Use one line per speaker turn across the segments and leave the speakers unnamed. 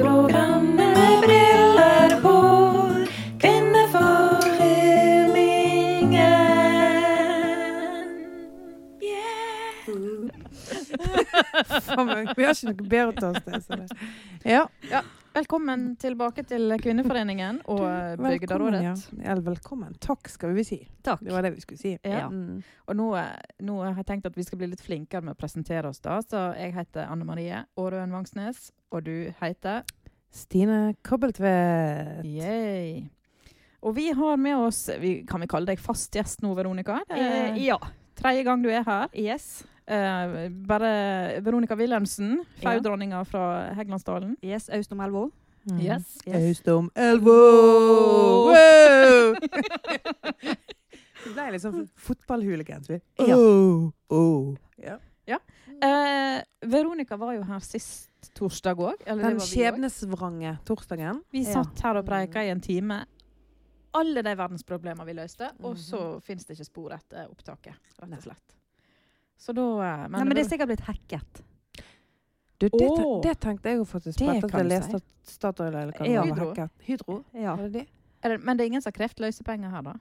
Radioprogrammet med briller på. Kvinneforeningen.
Faen meg, Vi har ikke noe bedre å ta oss til. så det- Ja,
Velkommen tilbake til Kvinneforeningen og
velkommen, ja.
Bygderådet.
Ja, velkommen. Takk, skal vi si.
Takk.
Det var det vi skulle si.
Ja.
Mm.
Og nå, eh, nå har jeg tenkt at vi skal bli litt flinkere med å presentere oss, da. Så jeg heter Anne Marie Aarøen Vangsnes, og du heter
Stine Kobbeltvedt.
Yay. Og vi har med oss vi, Kan vi kalle deg fast gjest nå, Veronica? Det er
Eh, ja.
tredje gang du er her.
Yes.
Eh, bare Veronica Wilhelmsen,
Ja.
faudronninga fra Heglandsdalen.
Yes, Austom Elvo.
Mm.
Yes.
Austom Elvo! Wow! Vi ble litt
Mm.
sånn fotballhooligans, vi.
Ja.
Oh, oh.
Eh, Veronica var jo her sist torsdag òg.
Den skjebnesvrange torsdagen.
Vi
Ja.
satt her og preika i en time. Alle de verdensproblemer vi løste, og så
Mhm.
fins det ikke spor etter opptaket. rett
Nei.
og slett. Så da eh,
Nei, men det er sikkert blitt hacket.
Du, det, te-
Åh.
det tenkte jeg jo faktisk
Det
på etter at
kan
jeg
du
leste
si.
at Statoil eller hva
Ja.
det var,
Hydro.
hacket. Hydro?
Ja.
Var det de?
er det, men det er ingen som har krevd løsepenger her, da?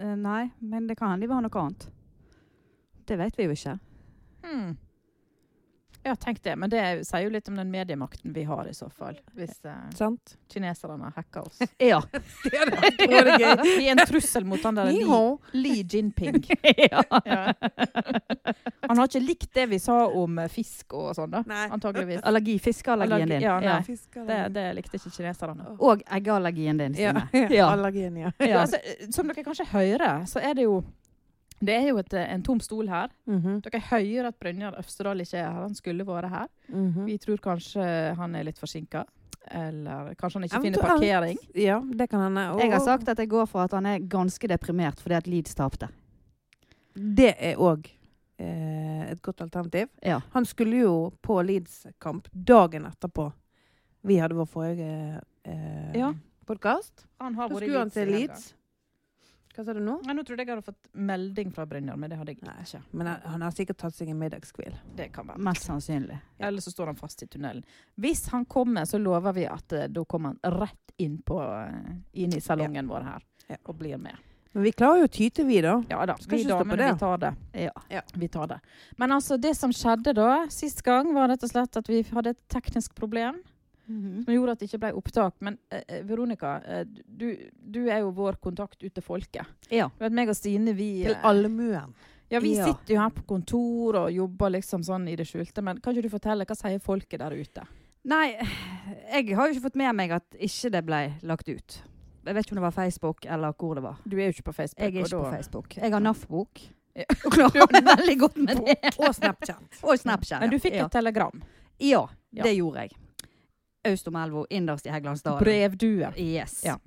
Eh, nei, men det kan hende det var noe annet. Det vet vi jo ikke.
Hmm. Ja, tenk det. Men det sier jo litt om den mediemakten vi har, i så fall. Hvis eh,
Sant?
kineserne hacker oss.
Ja.
vi er en trussel mot han der
Ni
Li,
hao.
Li Jinping.
ja.
Ja. Han har ikke likt det vi sa om eh, fisk og sånn, da.
Nei.
Antageligvis.
Allergi, fiskeallergien
Allergi-
din.
ja, nei.
Fisker,
Det, det likte ikke kineserne.
Og eggeallergien din, Stine.
Ja. Allergien, ja.
Ja. Altså, som dere kanskje hører, så er det jo det er jo et, eh, en tom stol her. Dere hører at Brynjar Øvsterdal ikke er her. Han skulle vært her. Mhm. Vi tror kanskje han er litt forsinka. Eller kanskje han ikke finner
Eventuelt.
parkering.
Ja, det kan hende. Og-
Jeg har sagt at jeg går for at han er ganske deprimert fordi at Leeds tapte.
Det er òg eh, et godt alternativ.
Ja.
Han skulle jo på Leeds-kamp dagen etterpå. Vi hadde vår forrige eh,
Ja.
podkast.
Han har
Da
vært i
skulle han til
i helga.
Leeds. Hva sa du nå?
Nei, nå trodde jeg jeg hadde fått melding fra Brynjar, men det hadde jeg
Nei.
ikke.
Men han, han har sikkert tatt seg en middagskvil.
Det kan være.
Mest sannsynlig.
Eller så står han fast i tunnelen. Hvis han kommer, så lover vi at eh, da kommer han rett inn, på, eh, inn i salongen vår her
Ja.
og blir med.
Men vi klarer jo å tyte, vi, da.
Ja da.
Skal
Vi
ikke stå på
damene,
det.
vi tar det.
Ja.
Vi tar det. Men altså, det som skjedde da, sist gang, var rett og slett at vi hadde et teknisk problem
Mhm.
som gjorde at det ikke ble opptak. Men eh, eh, Veronica, eh, du, du er jo vår kontakt ut til folket.
ja.
Du vet, meg og Stine, vi,
Til
eh,
allmuen.
ja, vi
Ja.
sitter jo her på kontor og jobber liksom sånn i det skjulte. Men kan ikke du fortelle, hva sier folket der ute?
Nei, jeg har jo ikke fått med meg at ikke det ble lagt ut. Jeg vet ikke om det var Facebook eller hvor det var.
Du er jo ikke på Facebook.
Jeg er
og
ikke
da-
på Facebook. Jeg har NAF-bok.
Ja.
Og klarer meg veldig godt med det.
Og Snapchat.
Og Snapchat.
Men du fikk
ja.
et telegram.
Ja,
Ja.
det gjorde jeg. Austomelvo, innerst i Heggelandsdalen.
Brevdue.
Yes.
Ja.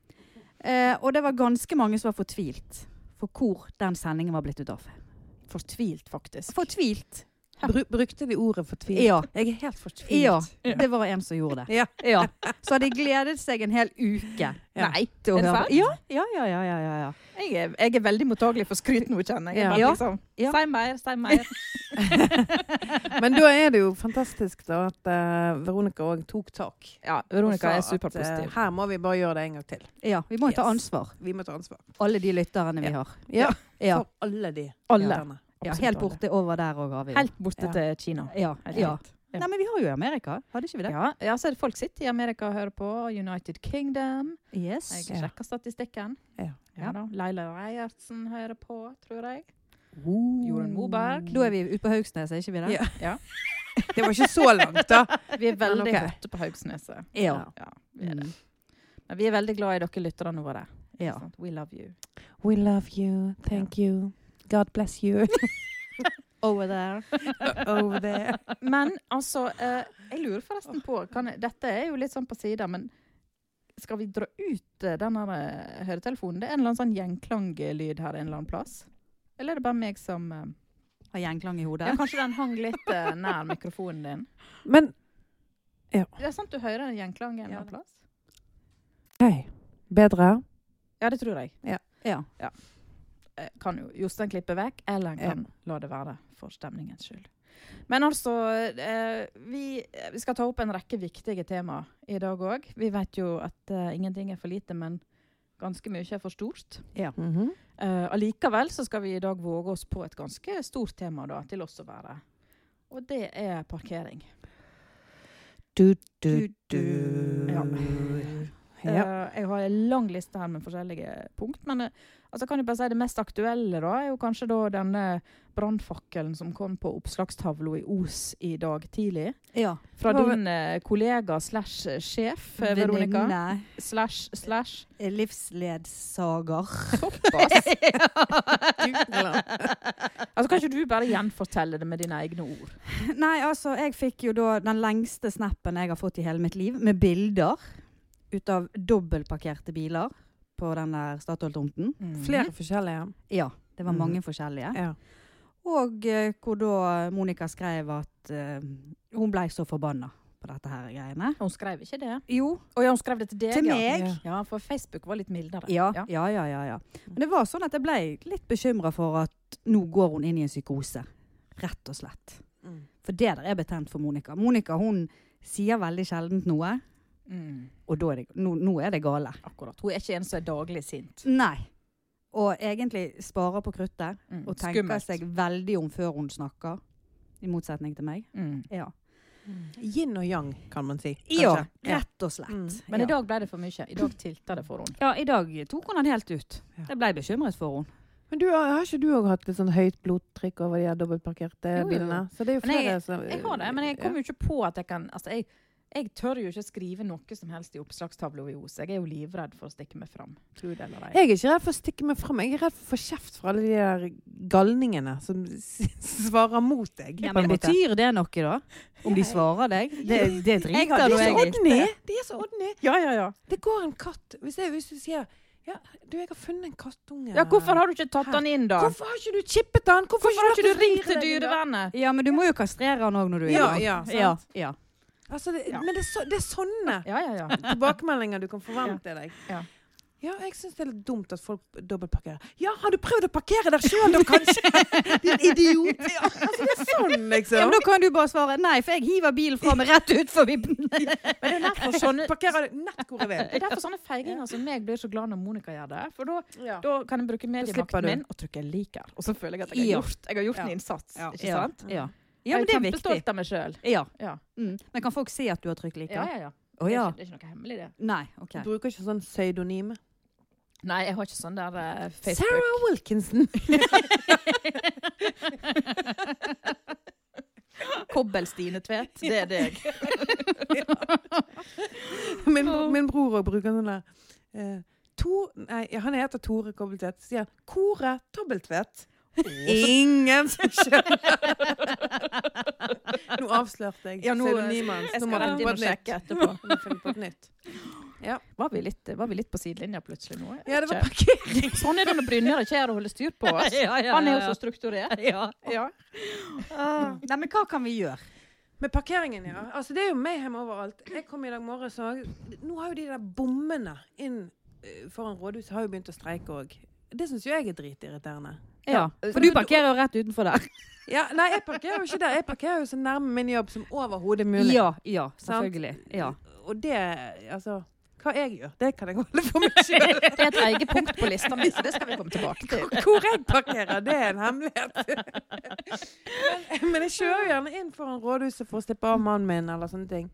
Eh, og det var ganske mange som var fortvilt for hvor den sendingen var blitt ut av.
Fortvilt, faktisk.
Fortvilt?
Bru, brukte de ordet fortvilt?
Ja.
Jeg er helt fortvilt.
ja. Det var en som gjorde det.
Ja.
Ja. Så hadde de gledet seg en hel uke.
Ja.
Nei.
til å
Er det
høre-
sant?
Ja, ja, ja, ja, ja, ja.
Jeg er, jeg er veldig mottagelig for skryt nå, kjenner jeg.
Ja.
jeg. bare
Ja.
Liksom,
Ja.
Si mer, si mer.
Men da er det jo fantastisk da at eh, Veronica òg tok tak.
Ja,
Og sa
Veronica er
at, eh,
superpositiv.
Her må vi bare gjøre det en gang til.
ja. Vi må jo ta
Yes.
ansvar,
Vi må ta ansvar.
alle de lytterne vi
Ja.
har.
Ja.
Ja.
For alle de.
Alle.
lytterne.
Ja,
Absolutt
helt
alle.
borte over der òg har vi det.
Helt borte
Ja.
til Kina.
ja.
Helt
ja.
rett. Ja.
Nei, men vi har jo Amerika, hadde ikke vi det?
Ja, ja, så er det folk sitter i Amerika og hører på United Kingdom.
Yes.
Jeg
Ja.
sjekker statistikken.
Ja.
Ja da. Leila Reiertsen hører på, tror jeg.
Oh.
Jorunn Moberg.
Da er vi ute på Haugsnes, er ikke vi det?
Ja. Det var ikke så langt, da.
Vi er
ok.
veldig hotte på Haugsneset.
Ja.
Ja, vi er det.
Mm.
Men vi er veldig glad i dere lytterne våre. Ikke
Ja.
sant? We love you.
We love you. Thank you. God bless you.
Over there.
Over there.
Men altså, eh, jeg lurer forresten på kan jeg, Dette er jo litt sånn på sida, men skal vi dra ut eh, den her eh, høretelefonen? Det er en eller annen sånn gjengklanglyd her en eller annen plass. Eller er det bare meg som eh,
Har gjengklang i hodet.
ja, Kanskje den hang litt eh, nær mikrofonen din?
Men
Det er sant du hører den gjengklangen en eller
Ja.
annen plass?
hei. Bedre?
Ja, det tror jeg.
Ja.
Eh, Kan jo Jostein klippe vekk, eller en
Ja.
kan la det være for stemningens skyld. Men altså, eh, vi vi skal ta opp en rekke viktige tema i dag òg. Vi vet jo at eh, ingenting er for lite, men ganske mye er for stort.
Mhm.
Eh, allikevel så skal vi i dag våge oss på et ganske stort tema da, til oss å være. Og det er parkering.
Du, du, du.
Ja.
Ja.
Eh, jeg har en lang liste her med forskjellige punkt, men eh, altså kan jeg bare si det mest aktuelle da, er jo kanskje da denne brannfakkelen som kom på oppslagstavla i Os i dag tidlig.
Ja.
Fra
Det var
din eh, kollega slash eh, sjef, eh, Veronica.
Venninne.
Slash, slash.
Livsledsager.
Såpass. altså, kan ikke du bare gjenfortelle det med dine egne ord?
Nei, altså, jeg fikk jo da den lengste snappen jeg har fått i hele mitt liv, med bilder ut av dobbeltparkerte biler på den der Statoil-tomten.
Mm.
Flere forskjellige.
Ja, det var
Mhm.
mange forskjellige.
Ja.
Og eh, hvor da Monica skrev at eh, hun blei så forbanna på dette her greiene.
Hun skrev ikke det?
Jo,
Å ja, hun skrev det til deg,
til
ja.
meg.
Ja.
Ja, for Facebook var litt mildere.
Ja, ja, ja, ja, ja. Men det var sånn at jeg ble litt bekymra for at nå går hun inn i en psykose. Rett og slett.
Mm.
For det der er betent for Monica. Monica hun sier veldig sjeldent noe,
Mm,
og da er det, nå, nå er det gale.
akkurat. Hun er ikke en som er daglig sint.
Nei. Og egentlig sparer på kruttet
Mm,
og tenker seg veldig om før hun snakker. I motsetning til meg.
Mm.
Ja,
Yin og yang, kan man si.
ja
kanskje.
rett og slett.
Mm.
Men
ja.
i dag ble det for mye. I dag tilta det for henne.
Ja, i dag tok hun den helt ut.
Ja.
Jeg ble bekymret for henne.
Men du, har har ikke du òg hatt litt sånn høyt blodtrykk over de her dobbeltparkerte
Jo, jo, jo.
bilene? Så det er jo
Men
flere
jeg-
som
Jeg har det, men jeg kommer jo ikke på at jeg kan altså jeg, jeg tør jo ikke skrive noe som helst i oppslagstavla i Os. Jeg er jo livredd for å stikke meg fram. Tro det eller ei.
Jeg er ikke redd for å stikke meg fram. Jeg er redd for å få kjeft fra alle de der galningene som s- svarer mot deg.
Ja,
på en
men
måte.
betyr det noe, da? Om de svarer deg? Det, det
Jeg
driter
har, de er
nå
så
jeg i.
ordentlig! De er så ordentlig.
Ja, ja, ja.
Det går en katt Hvis, jeg, hvis du sier ja, du, 'Jeg har funnet en kattunge'
Ja, Hvorfor har du ikke tatt den inn, da? Hvorfor,
Hvorfor har ikke du chippet den? Hvorfor,
har ikke
latt
du
oss
ringt
rire
til
den i dag?
dyrevernet?
Ja, men du må jo kastrere han òg når du er
Ja,
i
ja,
gang.
sant.
ja, ja.
Altså, det,
Ja.
Men det er, så, det er sånne
Ja, ja, ja.
tilbakemeldinger du kan forvente deg.
Ja.
Ja, jeg syns det er litt dumt at folk dobbeltparkerer. Ja, har du prøvd å parkere der sjøl, da, kanskje? Din idiot! Ja, altså, det er sånn,
Ja, men
liksom.
da kan du bare svare nei, for jeg hiver bilen fra meg rett ut forbi.
Men det er derfor sånne,
Jeg parkerer nett hvor jeg vil.
det er derfor sånne feiginger som meg blir så glad når Monica gjør det. For da
Ja.
Da kan jeg bruke
slipper
mediemakten
du.
min og trykke 'liker'. Og så føler jeg at jeg har
Ja.
gjort, jeg har gjort
Ja.
en innsats.
Ja.
Ikke sant?
Ja, ja men det er
Jeg er
viktig.
kjempestolt av meg sjøl.
Ja.
Ja.
Mm. Men kan folk se at du har trykt like?
Ja, ja, ja.
Å, ja.
Det, er ikke, det er ikke noe hemmelig, det.
Nei, OK.
Du bruker ikke sånn pseudonym.
Nei, jeg har ikke sånn der eh, Facebook.
Sarah Wilkinson.
Kobbel-Stine Tvedt. Det er deg.
Min, bro- min bror òg bruker sånn der eh, Tor, nei, ja, han heter Tore Kobbeltvedt. Så sier han Kore Tobbeltvedt. Ingen som skjønner Nå avslørte jeg
Ja, nå- eh,
pseudonymen.
Jeg
så Nå
skal
må
rett
jeg
inn
finne
og
på et nytt.
sjekke etterpå.
Nå må jeg finne på et nytt.
Var vi litt, var vi litt på sidelinja plutselig nå? Jeg
Ja, det var
vet ikke. Sånn er det når Brynjar ikke er å holde styr på oss.
Ja, ja,
Han er jo
ja,
så strukturert.
ja.
Ja.
Ah. Nei, men hva kan vi gjøre?
Med parkeringen, ja. Altså, det er jo mayhem overalt. Jeg kom i dag morges og Nå har jo de der bommene inn eh, foran rådhuset har jo begynt å streike òg. Det syns jo jeg er dritirriterende.
Ja. For du parkerer jo rett utenfor der.
Ja, nei, jeg parkerer jo ikke der. Jeg parkerer jo så nærme min jobb som overhodet mulig.
Ja, ja,
Sant.
selvfølgelig. Ja.
Og det Altså, hva jeg gjør, det kan jeg holde for meg sjøl.
Det er et eget punkt på lista mi, så det skal vi komme tilbake til.
Hvor jeg parkerer, det er en hemmelighet. Men, men jeg kjører jo gjerne inn foran rådhuset for å slippe av mannen min, eller sånne ting.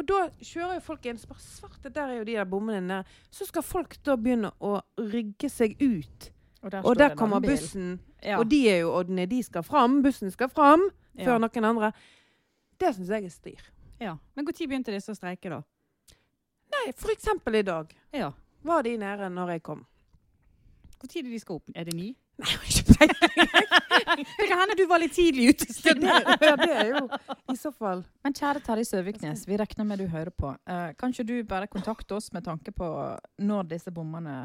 Og da kjører jo folk inn, så bare svarte, der er jo de der bommene nede. Så skal folk da begynne å rygge seg ut. Og der kommer bussen,
Ja.
og de er jo ordne, de skal fram. Bussen skal fram
Ja.
før noen andre. Det syns jeg er styr.
Ja. Men når begynte disse å streike, da?
Nei, for eksempel i dag
Ja.
var de nede når jeg kom.
Hvor tid er de skal opp? Er det ni?
Nei, jeg har ikke peiling.
Det kan hende du var litt tidlig ute.
Ja, det, ja, det er jo i så fall
Men kjære Terje Søviknes, vi regner med du hører på. Eh, kan ikke du bare kontakte oss med tanke på når disse bommene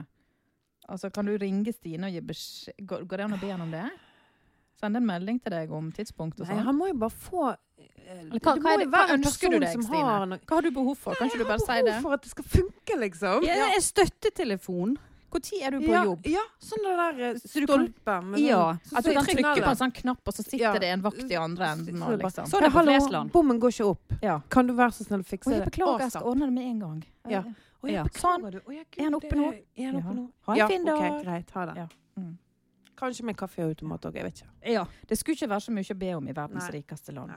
Altså, Kan du ringe Stine og gi beskjed Går går det an å be henne om det? Sende en melding til deg om tidspunkt og
Nei,
sånn?
han må jo bare få eh,
Eller hva-
det
hva
må
er det-
jo
hva
være en
ønsker du
person
deg,
som
Stine?
har noe-
Hva har du behov for? Kan ikke du bare si
Jeg
det?
har behov for at det skal funke, liksom.
Ja, en støttetelefon.
Når sånn. er du på
Ja,
jobb?
ja, sånn det der eh,
du kan-
stolper med
Ja.
sånn- så
At du kan trykke
signaler.
på en sånn knapp, og så sitter
Ja.
det en vakt i andre enden.
Så
Og
det bare-
liksom.
Så det på
hallo,
Flesland.
Bommen går ikke opp.
Ja.
Kan du være så snill å fikse
Å, jeg
det?
beklager, jeg
Avstand.
skal ordne det med en gang.
Ja. Å, jeg
Ja.
beklager
Sånn.
det. Å, ja, Gud,
Er han oppe
det
nå?
Er han oppe
Ja.
nå?
Ha en fin
ok,
dag.
greit. Ha det.
Ja. Mm.
Kanskje med kaffeautomat òg, jeg vet ikke.
Ja. Det skulle ikke være så mye å be om i verdens
Nei.
rikeste land.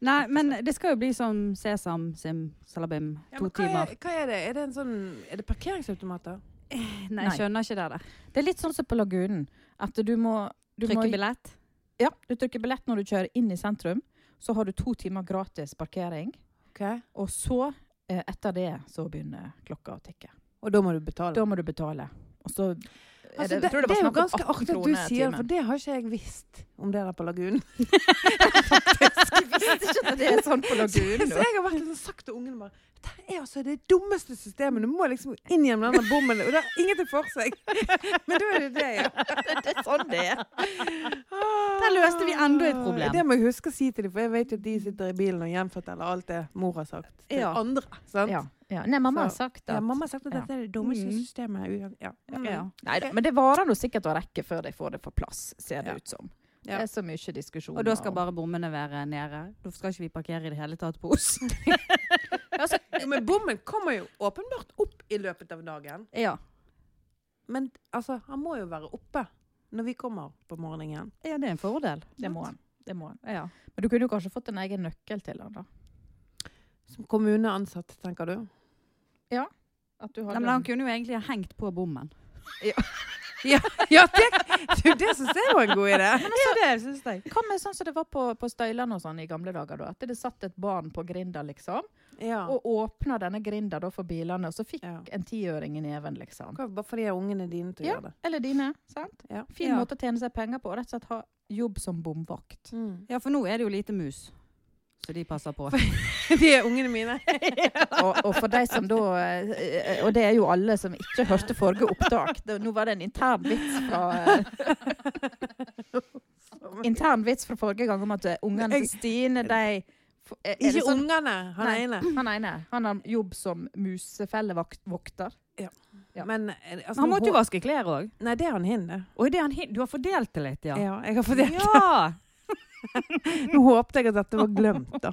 Nei.
Nei, men det skal jo bli som sesam, sim, salabim, to timer.
Hva er det? Er det en sånn Er det parkeringsautomater?
Nei,
Nei.
jeg skjønner ikke det der.
Det er litt sånn som på Lagunen. At du må, du må
Trykke billett.
Ja, du trykker billett når du kjører inn i sentrum. Så har du to timer gratis parkering. Og så, eh, etter det, så begynner klokka å tikke.
Og da må du betale?
Da må du betale. Og så er
Altså,
jeg
det,
tror
det,
var
er jo
snakk om
ganske
18
artig at du
kroner
sier det,
timen.
for det har ikke jeg visst om det der på Lagunen.
Jeg visste ikke at det er sånn på
Så
Lagunen.
jeg har vært litt sånn sagt til ungene bare Dette er altså det dummeste systemet. Du må liksom inn gjennom denne bommen, og det er ingenting for seg. Men da er det det, ja.
Det er sånn det er.
Der løste vi enda et problem.
Det må jeg huske å si til dem, for jeg vet jo at de sitter i bilen og gjenforteller alt det mor har sagt til
Ja.
andre. Sant?
Ja, ja. Nei, mamma har
Så-
sagt
Ja,
at
mamma har sagt at
Ja.
dette er det dummeste
Mm.
systemet. uan- Ja.
Ja.
Neida, men det varer nå sikkert å rekke før de får det på plass, ser det
Ja.
ut som.
Ja.
Det er så mye diskusjoner.
Og da skal
om-
bare bommene være nede. Da skal ikke vi parkere i det hele tatt på oss.
Jo, men bommen kommer jo åpenbart opp i løpet av dagen.
ja.
Men altså, han må jo være oppe når vi kommer på morgenen.
ja, det er en fordel.
Det må han. Det må han.
Ja.
Men du kunne jo kanskje fått en egen nøkkel til han, da.
Som kommuneansatt, tenker du?
At du
Nei, men han kunne jo egentlig ha hengt på bommen.
Ja, det, du, det syns jeg var en god idé.
Ja, det syns jeg.
Hva med sånn som det var på, på Støyland og sånn i gamle dager, da? At det satt et barn på grinda, liksom,
altså-
Ja.
og åpna denne grinda da for bilene, og så fikk
Ja.
en tiøring i neven, liksom.
Bare for de her ungene dine til å
Ja.
gjøre det.
Eller dine, sant?
Ja.
Fin
Ja.
måte å tjene seg penger på, og rett og slett ha jobb som bomvakt.
Mm.
Ja, for nå er det jo lite mus. Så de passer på.
De er ungene mine.
og, og for de som da eh, Og det er jo alle som ikke hørte forrige opptak. Det, nå var det en intern vits fra eh, Intern vits fra forrige gang om at eh, ungene til Stine, de f- er- er det
Ikke
sånn-
ungene, han
Nei.
ene.
Han ene. Han har jobb som musefellevokter. Ja.
Men eh, altså,
Han måtte jo
hå-
vaske klær òg.
Nei, det er han hin, det.
Oi, det er han hin- du har fordelt det litt, ja.
Ja, jeg har fordelt
Ja!
Nå håpte jeg at dette var glemt, da.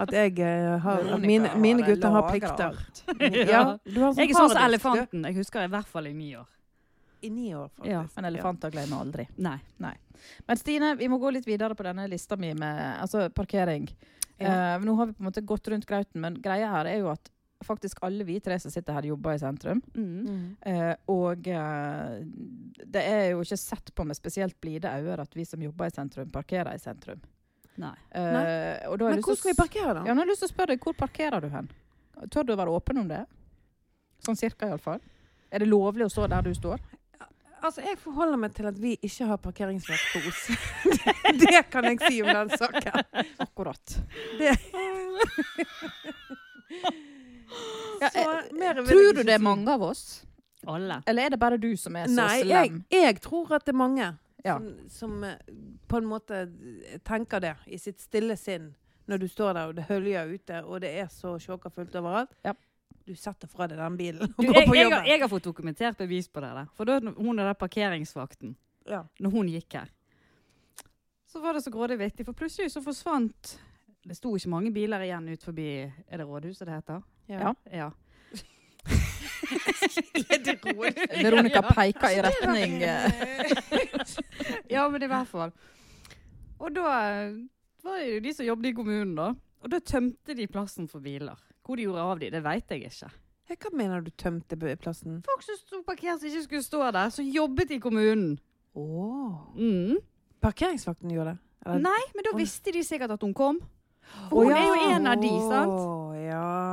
At jeg eh, har at
Veronica
mine, mine
har
gutter har
lagret
plikter.
alt.
Ja, du har en
Jeg er sånn som
paradis, du.
elefanten. Jeg husker i hvert fall i ni år.
I ni år, faktisk.
Ja,
Men elefanter glemmer aldri.
Nei.
Men Stine, vi må gå litt videre på denne lista mi med altså parkering.
Ja.
Eh, nå har vi på en måte gått rundt grauten, men greia her er jo at faktisk alle vi tre som sitter her, jobber i sentrum.
Mm.
Mm.
Eh, og eh, det er jo ikke sett på med spesielt blide øyne at vi som jobber i sentrum, parkerer i sentrum.
Nei.
Eh, og da har
Men
jeg lyst til
hvor
å
skal vi parkere,
s-
da?
Ja, nå har jeg lyst til å spørre deg, hvor parkerer du hen? Tør du å være åpen om det? Sånn cirka, iallfall. Er det lovlig å stå der du står?
Altså, Jeg forholder meg til at vi ikke har parkeringsvakt på Os. Det- det kan jeg si om den saken.
Akkurat.
Så,
Ja, jeg,
mer vil
tror
jeg
du
ikke
det er
si.
mange av oss?
Alle.
Eller er det bare du som er så
Nei, jeg,
slem?
jeg tror at det er mange
Ja.
som, som eh, på en måte eh, tenker det i sitt stille sinn når du står der og det høljer ute og det er så sjåka fullt overalt.
Ja.
Du setter fra deg den bilen og
Du,
går
jeg,
på
jeg, har-
jobben.
jeg har fått dokumentert bevis på det. der. For da hun er der parkeringsvakten,
Ja.
når hun gikk her, så var det så grådig vittig, for plutselig så forsvant Det sto ikke mange biler igjen ut forbi Er det rådhuset det heter?
Ja.
Ja.
Er det rolig?
Veronica peker i retning eh,
Ja, men i hvert fall. Og da eh, var det jo de som jobbet i kommunen, da. Og da tømte de plassen for biler. Hvor de gjorde av de, det veit jeg ikke.
Ja, Hva mener du tømte bu- plassen?
Folk som sto parkert som ikke skulle stå der, som jobbet i kommunen.
Åh.
Mm.
Parkeringsvakten gjorde det? Eller-
Nei, men da
Å, nei.
visste de sikkert at hun kom.
Å,
For hun
ja.
er jo en av de, sant?
Å, ja.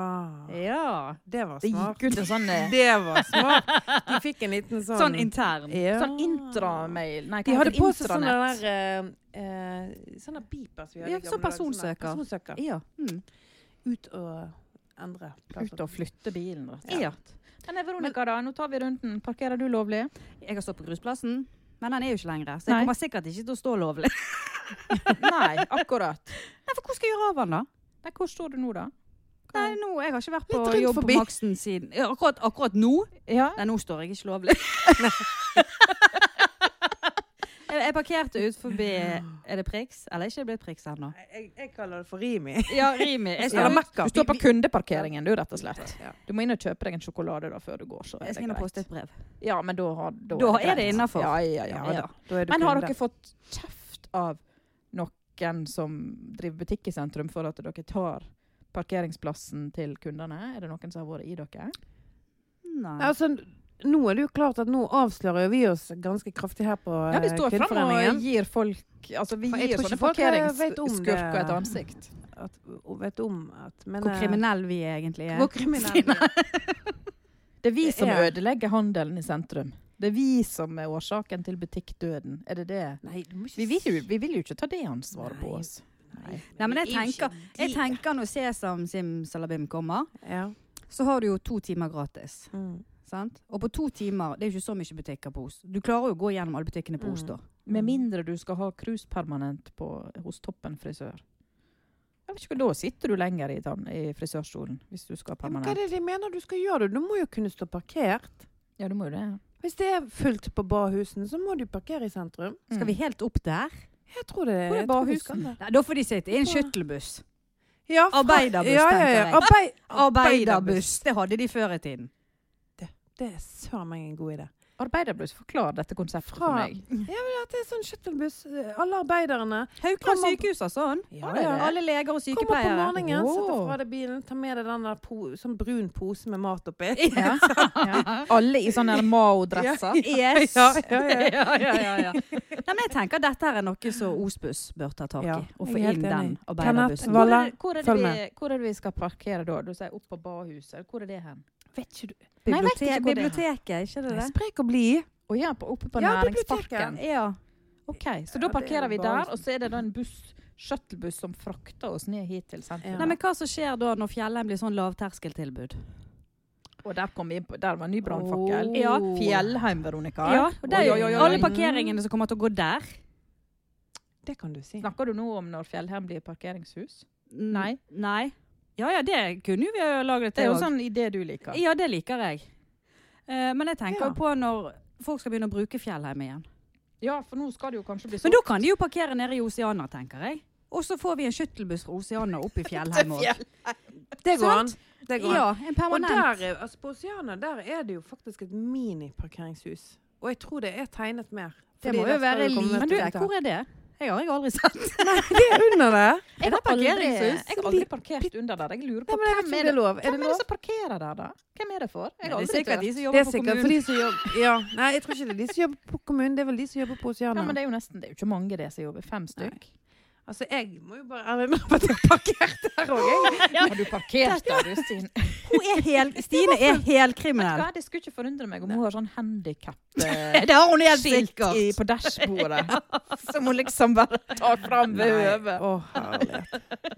Ja.
Det var
Det
smart.
gikk ut en sånn, eh,
Det var smart. De fikk en liten sånn
Sånn intern.
ja.
sånn intramail. Nei, hva
De hadde
heter det?
på seg sånne
Intranett.
der eh, eh, Sånne beeper som vi hadde i
Ja,
gamle
sånn
dager,
personsøker.
sånne Personsøker.
Ja. Mm.
Ut og endre plass.
Ut og flytte bilen, rett og slett.
ja.
Men eh, Veronica, da, nå tar vi runden. Parkerer du lovlig?
Jeg har stått på grusplassen, men den er jo ikke lenger. Så jeg
Nei.
kommer sikkert ikke til å stå lovlig.
Nei, akkurat.
Nei, for hvor skal jeg gjøre av den, da?
Nei, hvor står du nå, da?
Nei, nå, jeg har ikke vært på
Litt rundt
jobb
forbi.
på Maxen siden ja, akkurat, akkurat nå?
Ja.
Nei, nå står jeg ikke lovlig. jeg, jeg parkerte ut forbi Er det Prix? Eller ikke det blitt Prix ennå?
Jeg, jeg kaller det for Rimi.
Ja, Rimi. Jeg
Eller
skal,
Mekka.
Du står på kundeparkeringen, du, rett og slett.
Ja.
Du må inn og kjøpe deg en sjokolade da, før du går. Så er
jeg
det
skal inn og
greit.
poste et brev.
Ja, men da, har, da,
Da er
greit.
det innenfor.
Ja, ja, ja,
Ja,
da.
da. Da er du
Men har
kunde.
dere fått kjeft av noen som driver butikk i sentrum for at dere tar parkeringsplassen til kundene? Er det noen som har vært i dere?
Nei,
Nei.
altså, nå er det jo klart at nå avslører vi oss ganske kraftig her på
Ja, vi står
eh,
fram og
Kvinneforeningen.
gir folk Altså, vi
For jeg
gir
tror
sånne
ikke folk, eh, vet om det.
parkeringsskurker et ansikt.
At, og vet om at men,
Hvor
eh,
kriminelle vi egentlig er.
Hvor kriminell vi er.
Det er vi
Det
som
er-
ødelegger handelen i sentrum. Det er vi som er årsaken til butikkdøden. Er det det?
Nei, du må ikke
Vi vil jo, vi vil jo ikke ta det ansvaret
Nei.
på oss. Nei.
Nei, men jeg
det er jo ikke
tenker, jeg
de-
tenker når Sesam Sim Salabim kommer,
ja.
så har du jo to timer gratis.
mm.
Sant? Og på to timer Det er jo ikke så mye butikker på Os. Du klarer jo å gå gjennom alle butikkene på Os, da.
Med mindre du skal ha krus permanent på, hos Toppen frisør. Jeg vet ikke, Da sitter du lenger i, tann, i frisørstolen hvis du skal ha
Ja, men hva er
permanent.
det de mener du skal gjøre? Du må jo kunne stå parkert.
Ja, du må jo det.
Hvis det er fullt på barhusen, så må du parkere i sentrum.
Skal vi helt opp der?
Jeg tror det
Hvor er
jeg tror vi
barhusen?
skal det.
Nei, da får de sitte i en skyttelbuss.
Ja, fra-
Arbeiderbuss,
ja, ja, ja.
tenker jeg.
Arbeid,
Arbeiderbuss. Det hadde de før i tiden.
Det er søren meg en god idé.
Arbeiderbuss, forklar dette konseptet for
Fra-
meg.
At det er sånn skyttelbuss. Alle arbeiderne
Haukeland
Kommer-
sykehus har sånn.
Ja,
ja.
Alle leger og
Kommer på
sykepleiere.
morgenen, setter
Åh.
fra deg bilen, tar med deg den der po sånn brun pose med mat oppi.
Ja. Ja. Alle i sånne her Mao-dresser.
Yes.
Ja, ja, ja.
ja, ja, ja, ja. Nei, men jeg tenker at dette her er noe som Osbuss bør ta tak i.
Ja,
og
jeg
få
er helt
inn den
enig.
arbeiderbussen.
Kenneth,
Hvor er, det- hvor, er det
Følg
vi, hvor er det vi skal parkere da? Du sier opp på barhuset. Hvor er det hen?
Vet ikke du
Nei, jeg vet ikke
Biblioteket,
hvor det er.
biblioteket, ikke det
Det
det?
er sprek å bli.
Å ja, på, oppe på
Ja,
næringsparken.
biblioteket.
Ja.
Ok, Så
Ja,
da
det
parkerer
er
vi
bare-
der, og så er det da en buss, shuttlebuss som frakter oss ned hit til sentrum.
Ja.
Nei, men hva som skjer da når Fjellheim blir sånn lavterskeltilbud?
Og der kom vi inn på, der var en ny brannfakkel.
Åh.
Ja.
Fjellheim, Veronica.
Ja, og det er jo
Oi, oi, oi, oi.
alle parkeringene som kommer til å gå der.
Det kan du si.
Snakker du nå om når Fjellheim blir parkeringshus? Nei.
Nei. Ja ja, det kunne jo vi ha laget
Det er
til.
jo
også.
sånn idé du liker.
Ja, det liker jeg. Eh, men jeg tenker
Ja.
jo på når folk skal begynne å bruke Fjellheim igjen.
Ja, for nå skal det jo kanskje bli
Men
sånn.
da kan de jo parkere nede i Oceana, tenker jeg. Og så får vi en skyttelbuss fra Oceana opp i Fjellheim òg.
Det går an. Sånn. Det går an.
Ja, en
Og
permanent.
der, er- altså på Oceana der er det jo faktisk et miniparkeringshus. Og jeg tror det er tegnet mer.
det
Fordi
må
der
jo
skal
være
det komme
lite. Men du,
mennesker.
hvor er det? Jeg har jeg aldri sett.
Det er under der.
jeg,
det
har aldri,
parkeringshus?
jeg har aldri parkert under der. Jeg lurer på
Nei, men jeg vet ikke
hvem
om
er
det
det,
er lov. Er
hvem
det
er det
lov?
som parkerer der, da? Hvem er det for? Jeg har
Det er
aldri
sikkert de
tørt.
som
Det
jobber
er
på
sikkert
kommunen.
for de som jobber Ja, nei, jeg tror ikke det er de som jobber på kommunen. Det er vel de som jobber på
Ja,
Oceana.
men det er jo nesten, det er jo ikke mange det som jobber. Fem stykk.
Altså, jeg må jo bare ærlig innrømme at jeg har parkert der òg, jeg.
Har du parkert der, du, Stine?
Hun er hel, Stine er helkriminell.
Ja, det skulle ikke forundre meg om hun har sånn handikap-skilt
Det har hun helt sikkert.
på dashbordet. Som hun liksom bare tar fram ved
Nei.
høvet.
Å, herlighet.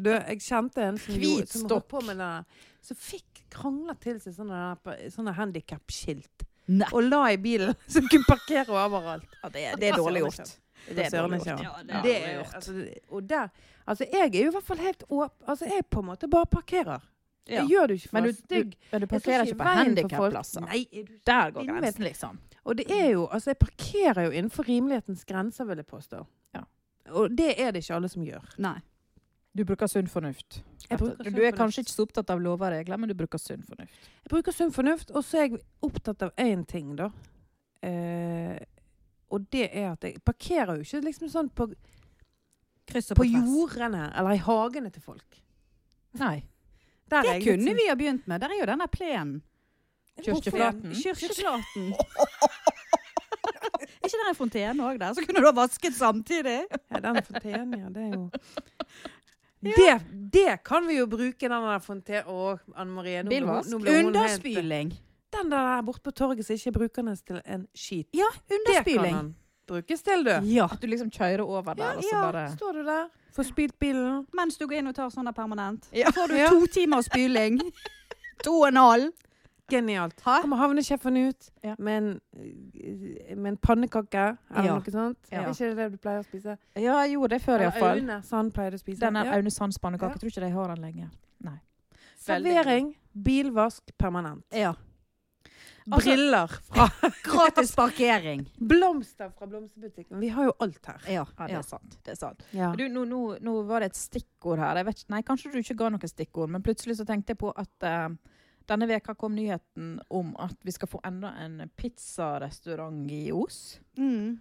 Du, jeg kjente en som,
Hvit
gjorde- som
stokk.
holdt på med den der, som fikk krangla til seg sånne, der- sånne handikap-skilt.
Nei.
Og la i bilen, så hun kunne parkere overalt.
Ja, det, er- det er dårlig gjort.
Det er dårlig gjort.
Ja, det er
Det
dårlig
er,
gjort.
altså, og der, altså, jeg er jo i hvert fall helt åpen Altså, jeg på en måte bare parkerer.
Ja.
Jeg gjør det jo ikke for
Men
å
du,
være stygg.
du, men du
Jeg står
parkerer ikke
i
på
veien for folk.
handikapplasser.
Nei, er du
Der går
Innvendig.
grensen, liksom.
Og det er jo, altså jeg parkerer jo innenfor rimelighetens grenser, vil jeg påstå.
Ja.
Og det er det ikke alle som gjør.
Nei.
Du bruker sunn fornuft.
Jeg bruker
du er
sunn
kanskje
fornuft.
ikke så opptatt av lover og regler, men du bruker sunn fornuft.
Jeg bruker sunn fornuft, og så er jeg opptatt av én ting, da. Eh, og det er at jeg parkerer jo ikke liksom sånn på,
Kryss og
på
på jord.
jordene eller i hagene til folk.
Nei.
Der
Det
er jeg litt
kunne
sånn-
vi ha begynt med. Der er jo denne plenen.
Mm.
Kirkeflaten.
Kirkeflaten. Er ikke det en fontene òg der? Så kunne du ha vasket samtidig.
Ja, den fontenen, ja. Det er jo det, det kan vi jo bruke, den der fontenen Å, Anne Marie. Nå, ble hun-
Bilvask.
nå ble hun helt-
Underspyling.
Den der borte på torget som ikke bruker den til en skit.
Ja,
Det kan
underspyling.
han brukes til, du.
Ja.
At du liksom kjører over der, og så bare
står du der. Får spylt bilen.
Mens du går inn og tar sånne permanent.
Ja.
Så får du
Ja.
to timer spyling. To og en halv.
Genialt.
Hæ?
Kommer havnesjefen ut
Ja.
med, en, eh, med en pannekake eller
Ja.
noe sånt.
Ja.
Er ikke det det du pleier å spise?
Ja, jeg gjorde det før,
Eller
iallfall.
Aune, sa han pleide å spise.
Den er
Ja.
Aune Sands pannekake.
Ja.
Jeg tror ikke de har den lenger. Nei.
Servering, bilvask permanent.
Ja. Altså-
Briller fra
Gratis parkering.
Blomster fra blomsterbutikken. Vi har jo alt her.
Ja,
Ja, det
ja.
er sant. Det er sant.
Ja.
Du, nå, nå, nå var det et stikkord her. Jeg vet ikke, nei, kanskje du ikke ga noe stikkord, men plutselig så tenkte jeg på at eh, denne veka kom nyheten om at vi skal få enda en pizzarestaurant i Os.
Mm.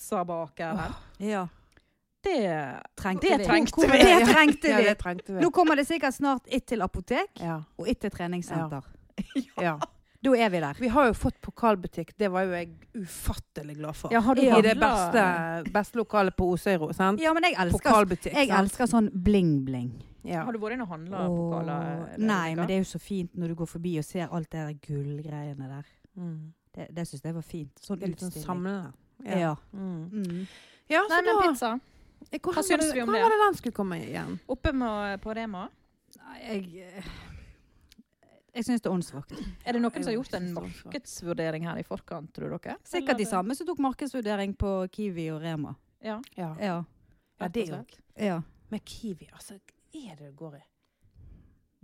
Pizzabakeren.
ja.
Det
Trengte
Det
vi.
trengte vi.
Det trengte
Ja,
vi.
det trengte vi.
Nå kommer det sikkert snart ett til apotek
Ja.
og ett til treningssenter.
Ja.
Da er vi der.
Vi har jo fått pokalbutikk. Det var jo jeg ufattelig glad for.
Ja, har du
I det
handlet-
beste, beste lokalet på Osøyro. sant?
Ja, men jeg elsker,
Pokalbutikk.
jeg
sant?
elsker sånn bling-bling.
Ja.
Har du vært inne og handla pokaler?
Åh, Nei, men det er jo så fint når du går forbi og ser alt det der gullgreiene der.
Mm.
Det, det syns jeg var fint. Sånn
Det er litt sånn
utstilling.
samlende.
Ja.
Mm.
Mm.
ja så
Nei, men
da
pizza.
Hvor
Hva syns
var det-
vi om
hvor
det?
var det den skulle komme igjen?
Oppe med, på Rema.
Nei, Jeg eh, Jeg syns det er åndssvakt.
Er det noen som har
Jo,
gjort en
jeg synes det var
markedsvurdering her i forkant, tror dere?
Sikkert de
Eller-
samme som tok markedsvurdering på Kiwi og Rema.
Ja,
Ja.
Ja.
ja, det er
rett
jo
og slett.
ja.
Men Kiwi, altså. Hva er det det går i?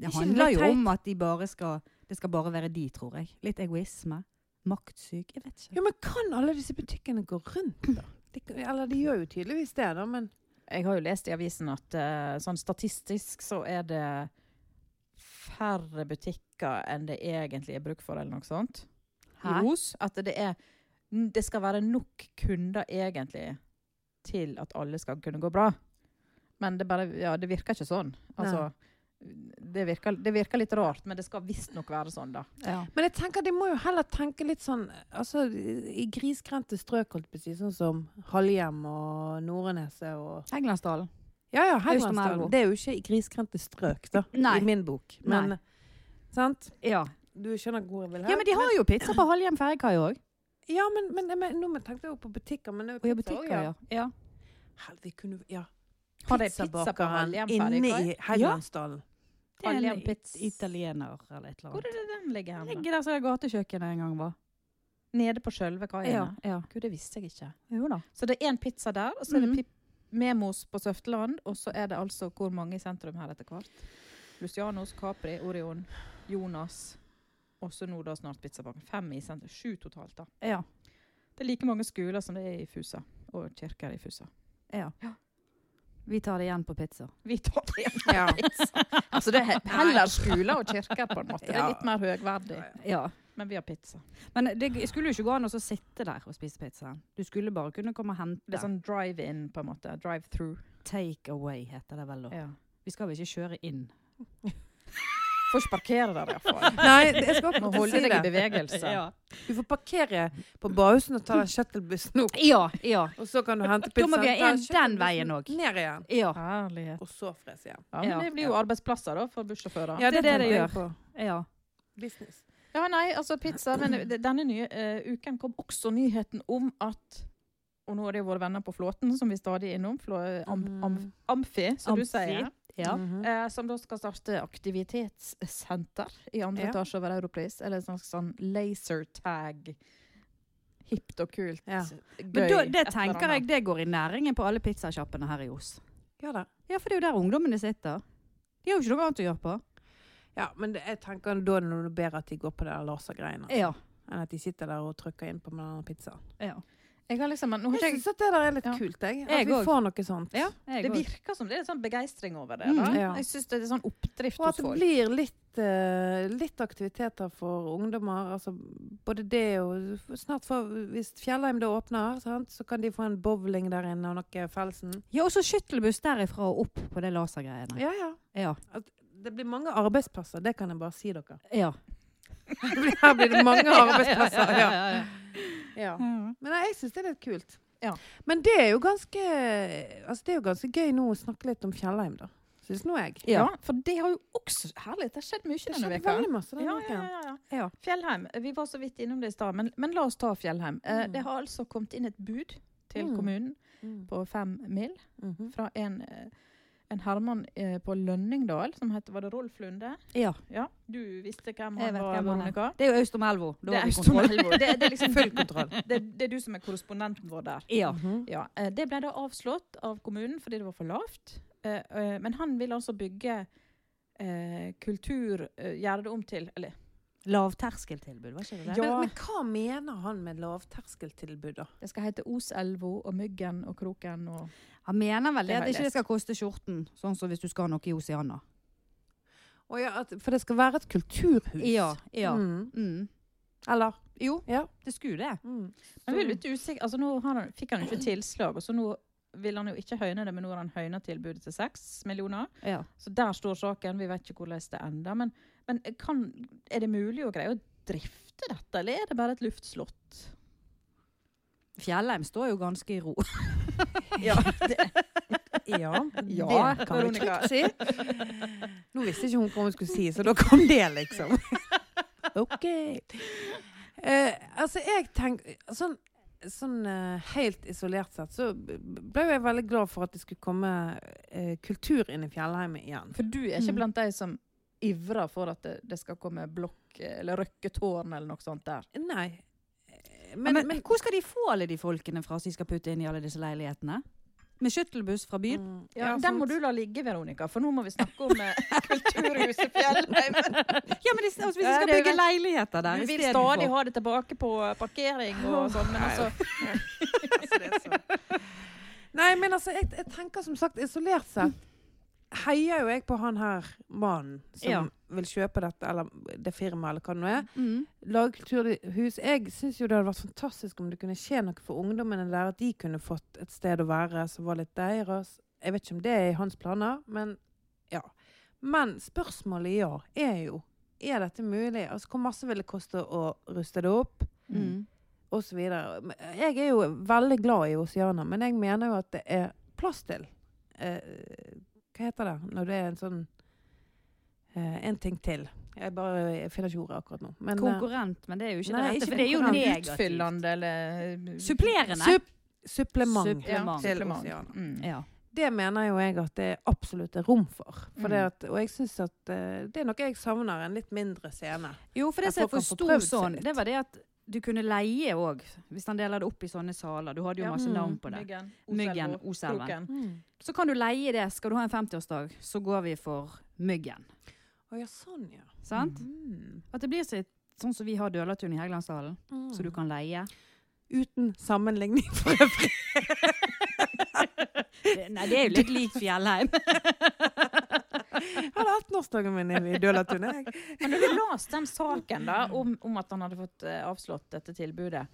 Det
Ikke
handler
litt
jo
teit?
om at de bare skal Det skal bare være de, tror jeg. Litt egoisme. Maktsyk. Jeg vet ikke.
Jo, men kan alle disse butikkene gå rundt, da? De, eller de gjør jo tydeligvis det, da, men
Jeg har jo lest i avisen at eh, sånn statistisk så er det færre butikker enn det egentlig er bruk for, eller noe sånt. I
Hæ?
Os. At det er Det skal være nok kunder egentlig til at alle skal kunne gå bra. Men det bare Ja, det virker ikke sånn. Altså det virker, det virker litt rart, men det skal visstnok være sånn, da.
Ja.
Men jeg tenker, de må jo heller tenke litt sånn altså, I grisgrendte strøk, holdt jeg på å si, sånn som Halhjem og Noreneset og
Heggelandsdalen.
Ja ja,
Øst om
Helgelandsdalen.
elva.
Det er jo ikke i grisgrendte strøk, da.
Nei.
I min bok. Men
Nei.
Sant?
Ja.
Du skjønner hvor jeg vil
ja, men de har jo pizza på Halhjem ferjekai òg.
Ja, men, men, men nå tenkte jeg jo på butikker, men det
Og
er
ja,
jo pizza også,
butikker, ja. ja.
Hel- vi kunne Ja.
Har de pizza på
Pizzabakeren
Halhjem
inne i
ferdig,
Helgelandsdalen.
Det er
Halhjem
en
Pizz.
it- italiener eller et eller
Hvor
annet.
er det den ligger hen? da?
Ligger der som det gatekjøkkenet en gang var.
Nede på sjølve kaien?
Ja,
da?
ja.
Gud, det visste jeg ikke.
Jo da.
Så det er én pizza der, og så er det
Mhm.
pip Memos på Søfteland, og så er det altså hvor mange i sentrum her etter hvert? Lucianos, Capri, Orion, Jonas, og så nå da snart Pizzabanken. Fem i sentrum. Sju totalt, da.
Ja.
Det er like mange skoler som det er i Fusa, og kirker i Fusa.
ja. Vi tar det igjen på pizza.
Vi tar det igjen.
Ja.
Altså det er he- heller skoler og kirker, på en måte. Det er
Ja.
litt mer høgverdig.
Ja.
Men vi har pizza.
Men det skulle jo ikke gå an å så sitte der og spise pizza. Du skulle bare kunne komme og
Det er
hente.
sånn drive-in, på en måte. Drive-through.
sånn Take away heter det vel da.
Ja.
Vi skal vel ikke kjøre inn.
Får ikke parkere der, iallfall.
Nei, jeg skal
Må
ikke
holde
si
deg i
det.
bevegelse.
Du får parkere på Bahusen og ta den shuttlebussen opp,
Ja, ja.
og så kan du hente
Da
pizzaen.
må vi ha
Ta
en den
shuttlebussen
veien også.
Ned igjen,
Ja.
Herlighet.
og så frese igjen.
Ja, men
Ja.
det blir jo arbeidsplasser da, for bussjåfører.
Ja,
det er det det
tenker jeg
gjør.
på.
ja.
Business.
Ja, nei, altså pizza. Men det- denne nye eh, uken kom også nyheten om at Og nå er det jo våre venner på Flåten, som vi stadig er innom. Flå, eh, am, am, amfi, som du
Mm. Amfi. Mm.
sier.
Ja.
Mhm.
Eh, som da skal starte aktivitetssenter i andre
Ja.
etasje over Europris. Eller sånn, sånn lasertag. Hipt og kult.
Ja.
Gøy.
Men da,
et
det
eller
tenker jeg
annet.
det går i næringen på alle pizzasjappene her i Os.
Ja da.
Ja, for det er jo der ungdommene sitter. De har jo ikke noe annet å gjøre på.
Ja, men det, jeg tenker da er det noe bedre at de går på de der lasergreiene.
Ja.
Enn at de sitter der og trykker inn på med denne pizzaen.
ja.
Jeg har liksom, nå
Jeg
har ikke jeg
syns at det der er litt
Ja.
kult, jeg. At
Jeg
vi
òg.
får noe sånt.
ja
Det
jeg også.
virker som det er litt sånn begeistring over det.
Mm.
Da.
Ja.
Jeg syns det er sånn oppdrift
Og at
hos
det
folk.
blir litt, eh, litt aktiviteter for ungdommer. Altså både det og snart får, Hvis Fjellheim da åpner, sant, så kan de få en bowling der inne og noe Felsen.
Ja, og så skyttelbuss derifra og opp på det lasergreiene.
Ja, ja.
Ja.
At det blir mange arbeidsplasser, det kan jeg bare si dere.
ja.
Her blir det mange arbeidsplasser. Ja.
ja, ja.
Ja. Men nei, jeg syns det er litt kult.
Ja.
Men det er jo ganske altså det er jo ganske gøy nå å snakke litt om Fjellheim, da. Syns nå jeg.
Ja, for det har jo også Herlighet, det har skjedd mye
Det
denne
skjedde
veka.
veldig masse denne
Ja,
uken.
ja, ja, ja.
Ja.
Fjellheim. Vi var så vidt innom det i stad, men, men la oss ta Fjellheim. Eh, det har altså kommet inn et bud til
Mm.
kommunen
Mm.
på fem mil
Mhm.
fra en, eh, en herremann eh, på Lønningdal som heter Var det Rolf Lunde?
Ja.
Ja, du visste hvem
Jeg
han
vet
var,
hvem han er.
Monica?
Det er jo Øst om elva. Da
Det
har
er,
vi
Østom
kontroll.
Elvo. det, det er liksom
Full kontroll.
Det, det er du som er korrespondenten vår der.
Ja.
Mhm.
Ja, eh, Det ble da avslått av kommunen fordi det var for lavt. Eh, eh, Men han vil altså bygge eh, eh, kultur eh, Gjøre det om til Eller
Lavterskeltilbud, var ikke det det?
Men, men hva mener han med lavterskeltilbud, da?
det skal hete Oselva og Myggen og Kroken og
Han mener vel
Det
det
har
at
jeg
ikke det
lest.
skal koste skjorten, sånn som hvis du skal ha noe i Oceana.
Å ja, at, for det skal være et kulturhus?
Ja, ja.
Mm.
Mm.
Eller?
Jo,
Ja.
det skulle det.
Mm.
Men vi er litt usikker. Altså, nå har han, fikk han jo ikke tilslag, og så nå vil han jo ikke høyne det, men nå har han høynet tilbudet til seks millioner.
Ja.
Så der står saken. Vi vet ikke hvordan det ender. Men, men kan, er det mulig å greie å drifte dette, eller er det bare et luftslott?
Fjellheim står jo ganske i ro.
Ja, det,
Ja,
Ja,
det kan vi
Veronica.
trygt si. Nå visste ikke hun hva hun skulle si, så da kom det, liksom. OK. Eh, altså, jeg tenker Sånn, sånn eh, helt isolert sett så b- ble jeg veldig glad for at det skulle komme eh, kultur inn i fjellheimet igjen.
for du er ikke
Mm.
blant de som ivrer for at det, det skal komme blokk eller røkketårn eller noe sånt der.
Nei. Eh,
Men,
Men,
men,
men,
hvor skal de få alle de folkene fra som de skal putte inn i alle disse leilighetene? Med skyttelbuss fra byen?
Mm,
Ja,
sant.
den må du la ligge, Veronica, for nå må vi snakke om eh, kulturhuset Fjellheimen.
Ja, men de, altså, hvis de
Ja,
skal
det er jo
bygge
rett.
leiligheter der
Du vil
istedenfor.
stadig ha det tilbake på parkering og sånn, men altså
Nei, men altså, jeg, jeg tenker som sagt isolert sett heier jo jeg på han her mannen som
Ja.
vil kjøpe dette, eller det firmaet, eller hva det nå er.
Mm.
Lage kulturhus. Jeg syns jo det hadde vært fantastisk om det kunne skje noe for ungdommene der, at de kunne fått et sted å være som var litt deres. Jeg vet ikke om det er i hans planer, men ja. Men spørsmålet ja, er jo er dette mulig? Altså, Hvor masse vil det koste å ruste det opp?
Mm.
og så videre. Men eh, Jeg er jo veldig glad i Oceana, men jeg mener jo at det er plass til eh, Hva heter det når det er en sånn eh, En ting til. Jeg bare jeg finner ikke ordet akkurat nå. Men, eh,
Konkurrent, men det er jo ikke
Nei,
det
ikke
rette. For det er jo
konkurrent.
negativt.
Utfyllende eller
Supplerende.
supp- supplement,
Supplement.
til
Supplement.
Oceana.
Mm.
ja.
Det mener jo jeg at det absolutt er rom for. for det
Mm.
at, og jeg syns at eh, det er noe jeg savner, en litt mindre scene.
Jo, for det
At
som jeg
folk kan få
forsto
prøvd seg
sånn,
litt.
det var det at du kunne leie òg, hvis han deler det opp i sånne saler. Du hadde jo
Ja.
masse
Mm.
navn på det.
Myggen,
Myggen,
Oselva,
Oselven.
Kroken.
Så kan du leie det. Skal du ha en 50-årsdag, så går vi for Myggen.
Å ja, sånn, ja.
Sant?
Mm.
At det blir så, sånn som vi har Dølatun i Helgelandsdalen, så du kan leie.
Uten sammenligning for øvrig.
Det- Nei, det er jo litt likt Fjellheim.
Jeg hadde 18-årsdagen min i Dølatunet, jeg.
Men når du leste den saken da, om, om at han hadde fått eh, avslått dette tilbudet,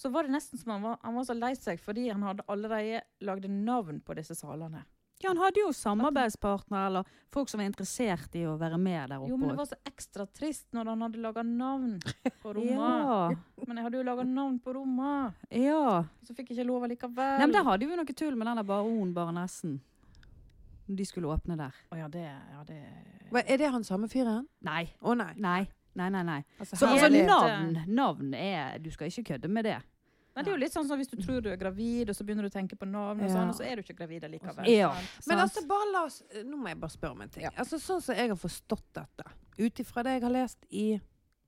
så var det nesten som han var, han var så lei seg fordi han hadde allerede lagd navn på disse salene.
Ja, han hadde jo samarbeidspartnere eller folk som var interessert i å være med der oppe.
Jo, men det
også.
var så ekstra trist når han hadde laga navn på rommet.
ja,
Men jeg hadde jo laga navn på rommet,
ja.
så fikk jeg ikke lov allikevel.
Nei, men der hadde vi jo noe tull med den der oh, baron baronessen. Når De skulle åpne der.
Å ja, det, ja, det
Hva, Er det han samme fyren?
Nei.
Å nei.
Nei. Nei, nei, nei.
Altså,
Så
her
altså,
er det-
navn, navn er Du skal ikke kødde med det.
Nei, det er jo litt sånn som hvis du tror du er gravid, og så begynner du å tenke på navn, og
Ja.
sånn, og så er du ikke gravid allikevel.
Ja.
sant?
Men
sant?
altså, bare la oss Nå må jeg bare spørre om en ting. Altså, sånn som jeg har forstått dette, ut ifra det jeg har lest i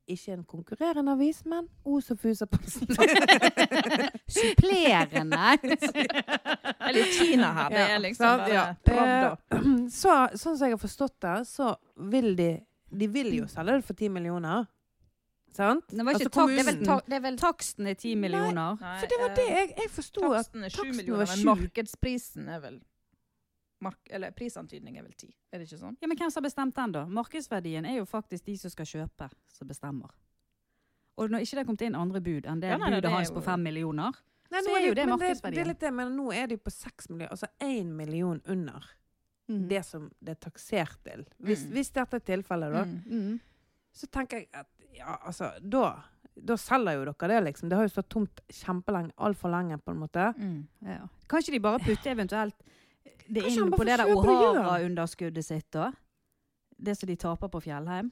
ikke en konkurrerende avis, men Os og Fusaposten.
Supplerende.
Eller Kina her. Det
Ja,
er liksom
sant,
bare
ja.
Pravda.
Så, sånn som jeg har forstått det, så vil de De vil jo selge det for 10 millioner. Sant?
Det, var ikke
Altså,
tak, det, er vel
kommunen.
tak, det er vel taksten er ti millioner.
Nei,
For det var det
eh,
jeg, jeg forsto. at-
Taksten er sju
taksten
millioner,
var
men
sju.
markedsprisen er vel mark, Eller prisantydning er vel ti, er det ikke sånn?
Ja, Men hvem som har bestemt den, da? Markedsverdien er jo faktisk de som skal kjøpe, som bestemmer. Og når ikke det er kommet inn andre bud enn
Ja,
det
nei, nei,
budet
det er
hans
jo-
på fem millioner
Nei,
så
nå
er jo
de-
det
men Det,
markedsverdien.
er litt det, men nå er de på 6 millioner. Altså 1 million under det som det er taksert til. Hvis,
Mm.
hvis dette er tilfellet, da.
Mm.
Mm.
Så tenker jeg at ja, altså, da, da selger jo dere det, liksom. Det har jo stått tomt kjempelenge. Altfor lenge, på en måte.
Ja. Kan ikke de bare putte eventuelt det
Kanskje han
inn
bare
på det
får
der
kjøpe det gjør.
O'Hara-underskuddet sitt, da? Det som de taper på Fjellheim?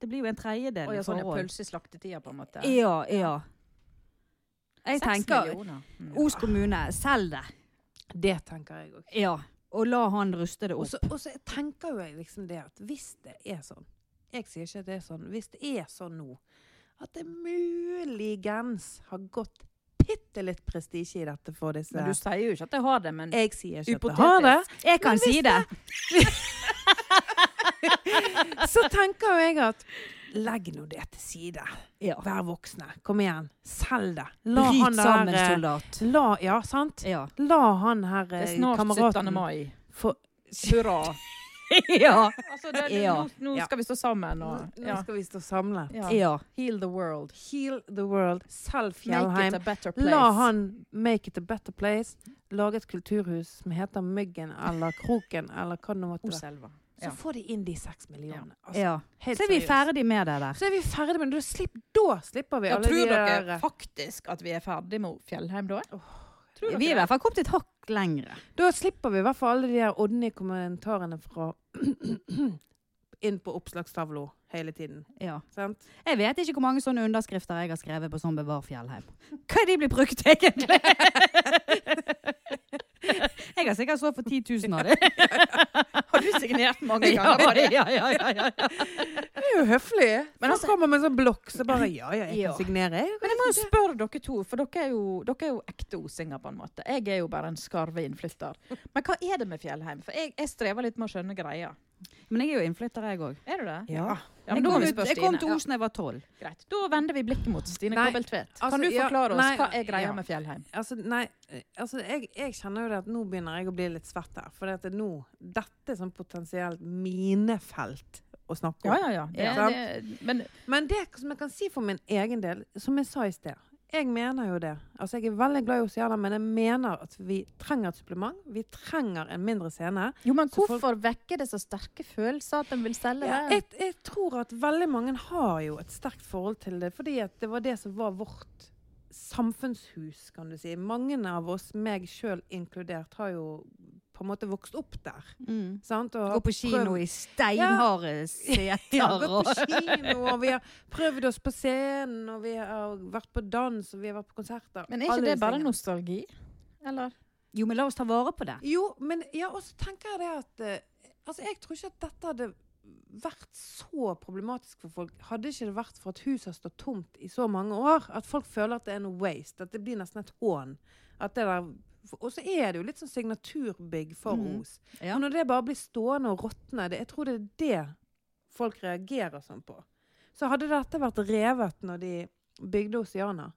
Det blir jo en tredjedel
Å ja,
i
sånn er
forhold.
pølse i slaktetida, på en måte.
Ja, ja. Jeg
Seks
tenker
millioner. Mm.
Os kommune, selg det.
Det tenker jeg òg.
Ja. Og la han ruste det
Og
opp.
så og så tenker jo jeg liksom det at hvis det er sånn Jeg sier ikke at det er sånn. Hvis det er sånn nå at det muligens har gått bitte litt prestisje i dette for disse
Men du sier jo ikke at jeg har det, men
Jeg sier ikke at det
Hypotetisk.
har det.
Jeg kan
Men hvis
si det!
Så tenker jo jeg at legg nå det til side. Vær voksne. Kom igjen. Selg det. La
Bryt
han der,
sammen,
eh,
soldat.
La, ja, sant?
Ja.
La han her
Det er
eh,
snart 17.
kameraten
mai.
få
Hurra.
ja.
Altså, det, det,
Ja.
nå, nå
Ja.
skal vi stå sammen
Nå
og
nå
ja.
skal vi stå samlet.
Ja.
ja.
Heal the world.
Heal the world. Selg
Make it
Fjellheim.
a better place.
La han make it a better place. Lage et kulturhus som heter Myggen eller Kroken eller hva det nå måtte være.
Oselva.
Så
Ja.
får de inn de seks millionene. Altså,
ja.
helt
Så er vi
seriøst.
ferdig med det der.
Så er vi ferdig med det. Da, slipp, da slipper vi
Ja,
alle
tror
de
dere
der
faktisk at vi er ferdig med Fjellheim da? Tror
Vi er i hvert fall kommet et hakk lengre.
eh, Da slipper vi i hvert fall alle de der åndelige kommentarene fra inn på oppslagstavla hele tiden.
Ja.
Sant?
Jeg vet ikke hvor mange sånne underskrifter jeg har skrevet på sånn Bevar Fjellheim. Hva er de blir brukt egentlig? Jeg har sikkert stått for 10 000 av dem.
Har du signert mange
Ja, ja, ja, ja, ja.
Det er jo høflig. Men
altså-
han kommer med en sånn blokk, så bare Ja, ja, jeg
Ja.
kan signere, jeg.
Men jeg må jo spørre dere to, for dere er jo, dere er jo ekte osinger på en måte. Jeg er jo bare en skarve innflytter. Men hva er det med Fjellheim? For jeg, jeg strever litt med å skjønne greia.
Men jeg er jo innflytter, jeg òg.
Er du det?
Ja.
Ja,
Jeg
men da
kom
må vi
ut-
spørre
jeg kom
Stine.
til Osen da jeg var tolv.
Ja, greit. Da vender vi blikket mot Stine
Nei,
Kobbeltvedt.
altså,
kan du
ja,
forklare oss
nei,
hva er greia
ja.
med Fjellheim?
Altså, nei, eh, altså jeg, jeg kjenner jo det at nå begynner jeg å bli litt svett her. For det at nå, dette er sånn potensielt mine felt å snakke om.
Ja, ja, ja. Det,
Ja.
det, men
Men det som jeg kan si for min egen del, som jeg sa i sted Jeg mener jo det. Altså, jeg er veldig glad i Oceana, men jeg mener at vi trenger et supplement. Vi trenger en mindre scene.
Jo, men
Så
hvorfor
folk-
vekker det så sterke følelser at en vil selge det?
Jeg, jeg tror at veldig mange har jo et sterkt forhold til det, fordi at det var det som var vårt samfunnshus, kan du si. Mange av oss, meg sjøl inkludert, har jo på en måte vokst opp der.
Mm.
Sant? Og
Gå på kino i steinharde
ja,
seter
gått
og
på kino, og vi har prøvd oss på scenen, og vi har vært på dans, og vi har vært på konserter.
Men er ikke
Alle
det
disse
bare
tingene.
nostalgi? Eller?
Jo, men la oss ta vare på det.
Jo, men ja, og så tenker jeg det at eh, Altså, jeg tror ikke at dette hadde vært så problematisk for folk, hadde ikke det vært for at huset har stått tomt i så mange år, at folk føler at det er en waste, at det blir nesten et hån. At det der og så er det jo litt sånn signaturbygg for
Mhm.
Os.
Ja.
Og når det bare blir stående og råtne det- Jeg tror det er det folk reagerer sånn på. Så hadde dette vært revet når de bygde Oceana,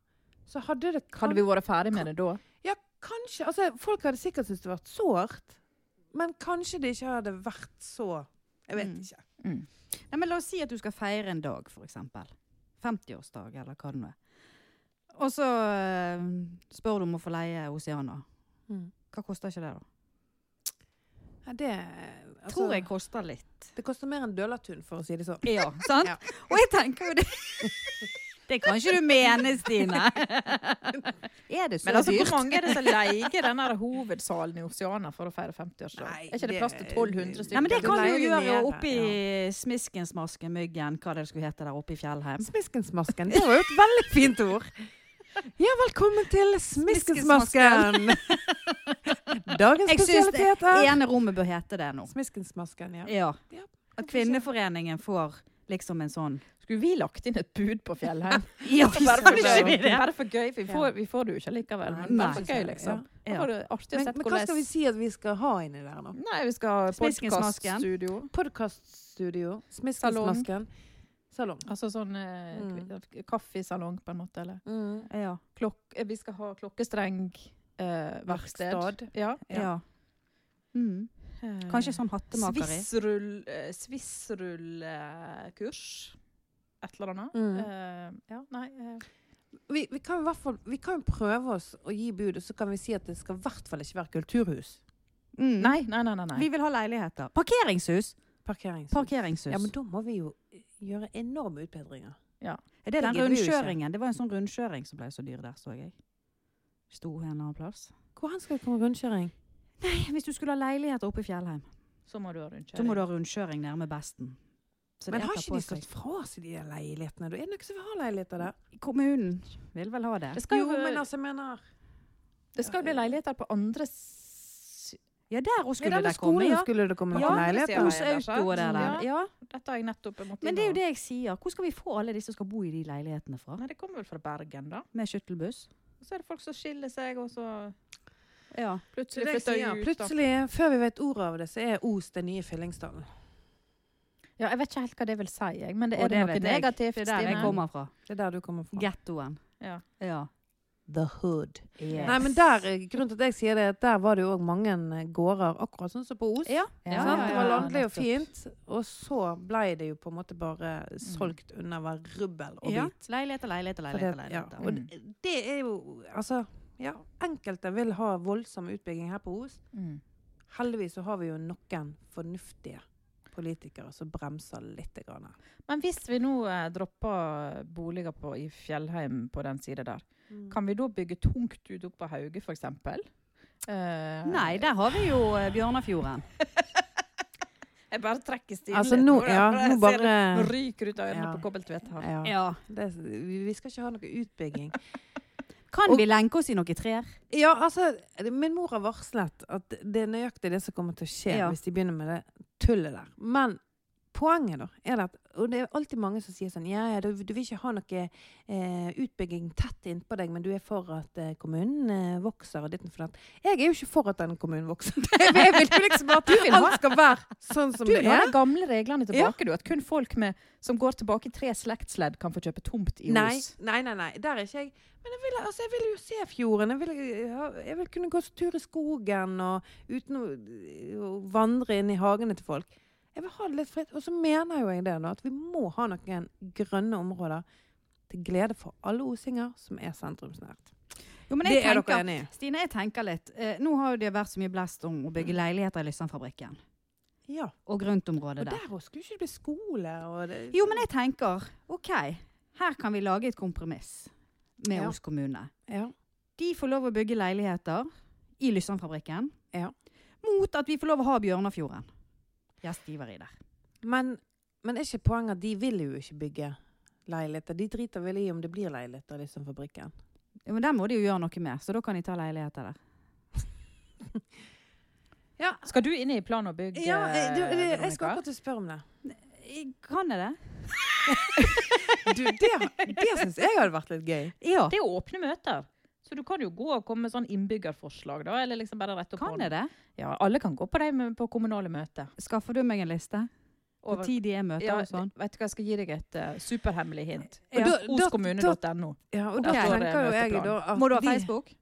så hadde det kan-
Hadde vi vært ferdig med det da?
ja, kanskje. Altså, folk hadde sikkert syntes det var sårt, men kanskje det ikke hadde vært så Jeg vet
Mm.
ikke.
Nei, men la oss si at du skal feire en dag, for eksempel. 50-årsdag, eller hva det nå er. Og så eh, spør du om å få leie Oceana.
Mm.
Hva koster ikke det, da?
Ja, det altså,
Tror jeg koster litt.
Det koster mer enn Dølatun, for å si det sånn.
Ja, sant?
Ja.
Og jeg tenker jo det Det kan ikke du mene, Stine. Er det så
Men altså,
dyrt?
hvor mange er det som leier den der hovedsalen i Oceana for å feire 50-årsdag?
Nei,
Er ikke det
det-
plass til 1200 stykker?
Nei, men det
Du
kan du
leier
jo
det
gjøre
nede,
oppe i smiskensmasken, myggen, hva det skulle hete der oppe i Fjellheim.
Smiskensmasken. Det var jo et veldig fint ord. Ja, velkommen til Smiskensmasken. Dagens
Jeg syns det
spesialitet er
ene rommet bør hete det nå.
Smiskensmasken, ja.
Ja.
Ja.
At Kvinneforeningen får liksom en sånn
Skulle vi lagt inn et bud på Fjellheim?
Ja,
bare, for,
vi
bare for gøy. For vi får, vi får det jo ikke likevel. Men
Nei.
bare for gøy, liksom.
Ja.
Da var det artig å
Men,
sette
men hva skal vi
hvordan
si at vi skal ha inni der nå?
Nei, vi skal ha
Smiskensmasken.
podkaststudio.
Podkaststudio, Smiskensmasken, salong.
Altså sånn eh,
Mm.
k- kaffesalong, på en måte. Eller
Mm.
Ja.
klokk, eh, vi skal ha klokkestreng. Eh, verksted.
Verksted.
Ja.
ja. Mm.
Eh,
Kanskje sånn hattemakeri.
Svissrull eh, Svissrullkurs. Et eller annet.
Mm.
Eh, ja, nei eh,
Vi, vi kan i hvert fall vi kan jo prøve oss å gi bud, og så kan vi si at det skal i hvert fall ikke være kulturhus.
Mm.
nei, nei, nei, nei, nei.
Vi vil ha leiligheter. Parkeringshus!
Parkeringshus.
Parkeringshus.
Ja, men da må vi jo eh, gjøre enorme utbedringer.
er det
det
den
gidder vi jo ikke.
rundkjøringen? Det var en sånn rundkjøring som ble så dyr der, så jeg. Sto en eller annen plass.
Hvor hen skal det komme rundkjøring?
Nei, hvis du skulle ha leiligheter oppe i Fjellheim,
Så må du ha rundkjøring.
så må du ha rundkjøring nærme besten. Så det
Men har
tar
ikke
på
de
seg.
stått fra seg de der leilighetene? Da er det noen som vil ha leiligheter der?
Kommunen vil vel ha det?
Det skal jo, eh,
jo, men
være-
altså, jeg mener
det skal jo bli leiligheter på andre s-
Ja, der også skulle
Denne
det komme.
skolen
Ja,
skulle det komme
Ja,
noen leiligheter?
hos Auto og det der. Ja.
Dette har jeg nettopp måttet
Men det er jo
innom.
det jeg sier. Hvor skal vi få alle de som skal bo i de leilighetene fra?
Nei, det kommer vel fra Bergen, da.
Med skyttelbuss?
Og så er det folk som skiller seg, og så
Ja.
Så
plutselig
det jeg
flytter
sier,
ut. da.
Plutselig, før vi vet ordet av det, så er Os den nye Fyllingsdalen.
Ja, jeg vet ikke helt hva det vil si, jeg, men det
Og
er det
vet
noe
jeg.
negativt.
Det er der jeg
Stine?
kommer fra.
Det er der du kommer fra.
Gettoen.
Ja.
Ja.
The hood.
Yes.
Nei, men der, eh, grunnen til at jeg sier det, er at der var det jo òg mange eh, gårder, akkurat sånn som på Os.
Ja.
Ja,
sant?
ja,
det var
ja,
landlig og
nettopp. Mm.
fint, og så ble det jo på en måte bare solgt under hver rubbel og
ja.
bit.
Leiligheter, leiligheter,
For det-
leiligheter. leiligheter.
Ja. Og det, det er jo Altså, ja. Enkelte vil ha voldsom utbygging her på Os.
Mm.
Heldigvis så har vi jo noen fornuftige politikere som bremser litt. Grann.
Men hvis vi nå eh, dropper boliger på, i Fjellheim på den siden der, kan vi da bygge tungt ut opp på Hauge, for eksempel? Eh,
Nei, der har vi jo eh, Bjørnafjorden.
Jeg bare trekker stilen
Altså,
litt
nå,
da,
ja,
for jeg
nå
ser
bare
det ryker ut av øynene
Ja.
på Kobbeltvedt her.
ja.
Ja.
Det, vi vi skal ikke ha noe utbygging.
Kan
Og-
vi lenke oss i noen trær?
Ja, altså, min mor har varslet at det er nøyaktig det som kommer til å skje
Ja.
hvis de begynner med det tullet der. Men poenget da, er det at, og det er alltid mange som sier sånn, ja, ja, du, du vil ikke ha noe eh, utbygging tett innpå deg, men du er for at eh, kommunen eh, vokser og ditten for datt. Jeg er jo ikke for at den kommunen vokser. jeg vil- jeg vil jo liksom bare
Du vil
at
ha-
alt skal være sånn som
Du
det
vil ha
er.
de gamle reglene tilbake, du. At kun folk med, som går tilbake i tre slektsledd, kan få kjøpe tomt i
Nei,
Os.
nei, nei, nei, der er ikke jeg. Men jeg vil, altså, jeg vil jo se fjorden. Jeg vil, ha- jeg vil kunne gå tur i skogen og uten å, å vandre inn i hagene til folk. Jeg vil ha det litt fritt. Og så mener jo jeg det da, at vi må ha noen grønne områder til glede for alle osinger som er sentrumsnært.
Jo, men
Det
jeg
er dere
tenker,
enig i?
Stine, jeg tenker litt. Eh, nå har jo det vært så mye blest om å bygge leiligheter i Lysandfabrikken.
Ja.
Og
Og
grøntområdet der.
der også skulle ikke det bli skole og det,
Jo, men jeg tenker, OK, her kan vi lage et kompromiss med
Ja.
Os kommune.
ja.
De får lov å bygge leiligheter i Lysandfabrikken
Ja.
mot at vi får lov å ha Bjørnafjorden. Gjestgiveri der.
Men, men er ikke poenget at de vil jo ikke bygge leiligheter? De driter vel i om det blir leiligheter, liksom, fabrikken.
Jo, men der må de jo gjøre noe med, så da kan de ta leiligheter der.
Skal du inn i plan og bygg,
Ja, jeg, du,
eh,
jeg skal
Veronica?
akkurat til å spørre om det.
Eh, Kan jeg det?
Du, det, det syns jeg hadde vært litt gøy.
Ja.
Det er jo åpne møter. Så du kan jo gå og komme med sånn innbyggerforslag, da. Eller liksom bare rett opp
Kan jeg det?
Ja, alle kan gå på de med- på kommunale møter.
Skaffer du meg en liste? Over
Over-
tid de er møter
Ja,
og sånn?
vet du hva, jeg skal gi deg et eh, superhemmelig hint.
Ja. Da- da-
Oscommune.no.
Ja, og
Ok.
da tenker jo jeg da
Møteplan.
at
Må du ha
vi-
Facebook?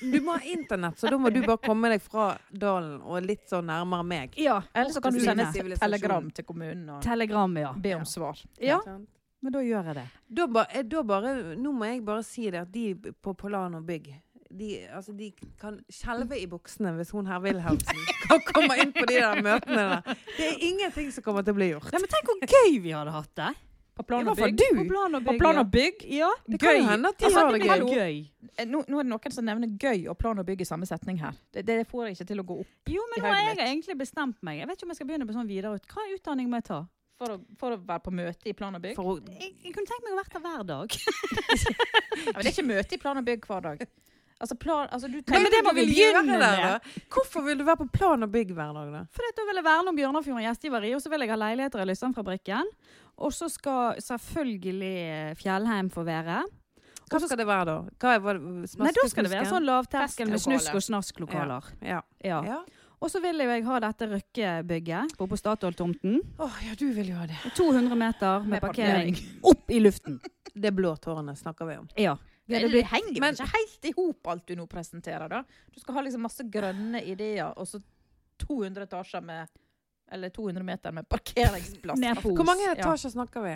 Du må ha internett, så da må du bare komme deg fra dalen og litt sånn nærmere meg.
Ja.
Eller så kan du
Oscommune
sende et
sivilisasjon.
telegram til kommunen og
Telegram, ja.
be om svar.
Ja,
Ikke sant?
men da gjør jeg det.
Da, ba, eh, da bare Nå må jeg bare si det at de på Polano Bygg de, altså, de kan skjelve i buksene hvis hun herr Wilhelmsen kan komme inn på de der møtene der. Det er ingenting som kommer til å bli gjort.
Nei, men tenk hvor gøy vi hadde hatt det!
På plan
I
og
hvert fall
bygg.
du.
På plan og
På
bygg.
plan og bygg.
Ja,
Det kan jo hende at de har det
det
gøy.
blir
gøy.
Eh, Nå, nå er det noen som nevner gøy og plan og bygg i samme setning her. Det, det får jeg ikke til å gå opp
Jo,
I
men nå har
høyden
jeg egentlig bestemt meg. Jeg vet ikke om jeg skal begynne på sånn videreut. Hva utdanning må jeg ta?
for å, for å være på møte i plan og bygg.
For å-
Jeg, jeg kunne tenkt meg å være der hver dag.
Ja, men det er ikke møte i plan og bygg hver dag. Altså, plan, altså du
Nei,
tenker
men det må
du
vi
vil
begynne
gjøre
med.
det.
Da. Hvorfor vil du være på Plan og Bygg hver dag, da?
For da vil jeg verne om Bjørnafjorden gjestgiveri, og så vil jeg ha leiligheter i Lysandfabrikken. Og så skal selvfølgelig eh, Fjellheim få være.
Hva skal det være, da? Hva er, hva,
Nei, da skal det være sånn lavterskel med
Festlokale.
snusk og snask-lokaler.
Ja.
Ja.
Ja.
Og så vil jo jeg ha dette Røkke-bygget borte på Statoil-tomten.
Åh, ja, du vil jo ha det.
200 meter med
Med
parkering opp i luften.
Det blå tårnet snakker vi om.
Ja. Vi
Det,
hadde
det
blitt
henger jo
men-
ikke helt i hop, alt du nå presenterer. da. Du skal ha liksom masse grønne ideer, og så 200 etasjer med Eller 200 meter med parkeringsplass. Altså,
ned på
Hvor mange
Ja.
etasjer snakker vi?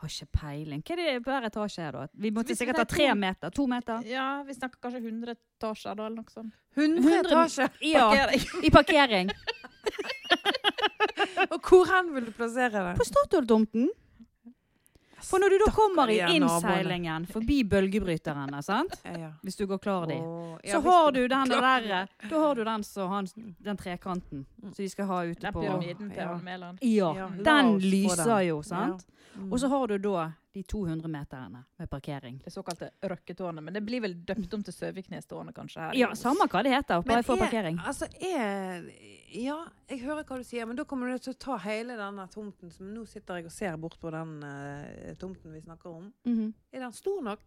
Har ikke peiling. Hva er det hver etasje er, da? Vi måtte
Hvis
sikkert
det
ha
er
tre
to-
meter. To meter.
Ja, vi snakker kanskje 100 etasjer, da, eller noe sånt.
100, etasjer!
Ja, i parkering.
Og hvor hen vil du plassere det?
På Statoil-tomten. For når du da kommer i
Stakkar de naboene.
innseilingen forbi bølgebryterne, sant?
Ja, ja.
hvis du går klar dit,
Åh, ja,
så
hvis
har du den derre Da har du den, så han, den trekanten som de skal ha ute
Den
på
pyramiden til
Ja.
Arne Mæland.
Ja.
Ja, la
Den
oss få
lyser
den.
jo, sant?
Ja. Mm.
Og så har du da de 200 meterne med parkering.
Det såkalte Røkketårnet. Men det blir vel døpt om til Søviknestårnet, kanskje? her. i
Ja,
Os.
samme hva det heter,
Men
bare få
er-
parkering.
Altså, er Ja, jeg hører hva du sier, men da kommer du til å ta hele denne tomten som Nå sitter jeg og ser bort på den eh, tomten vi snakker om.
Mhm.
Er den stor nok?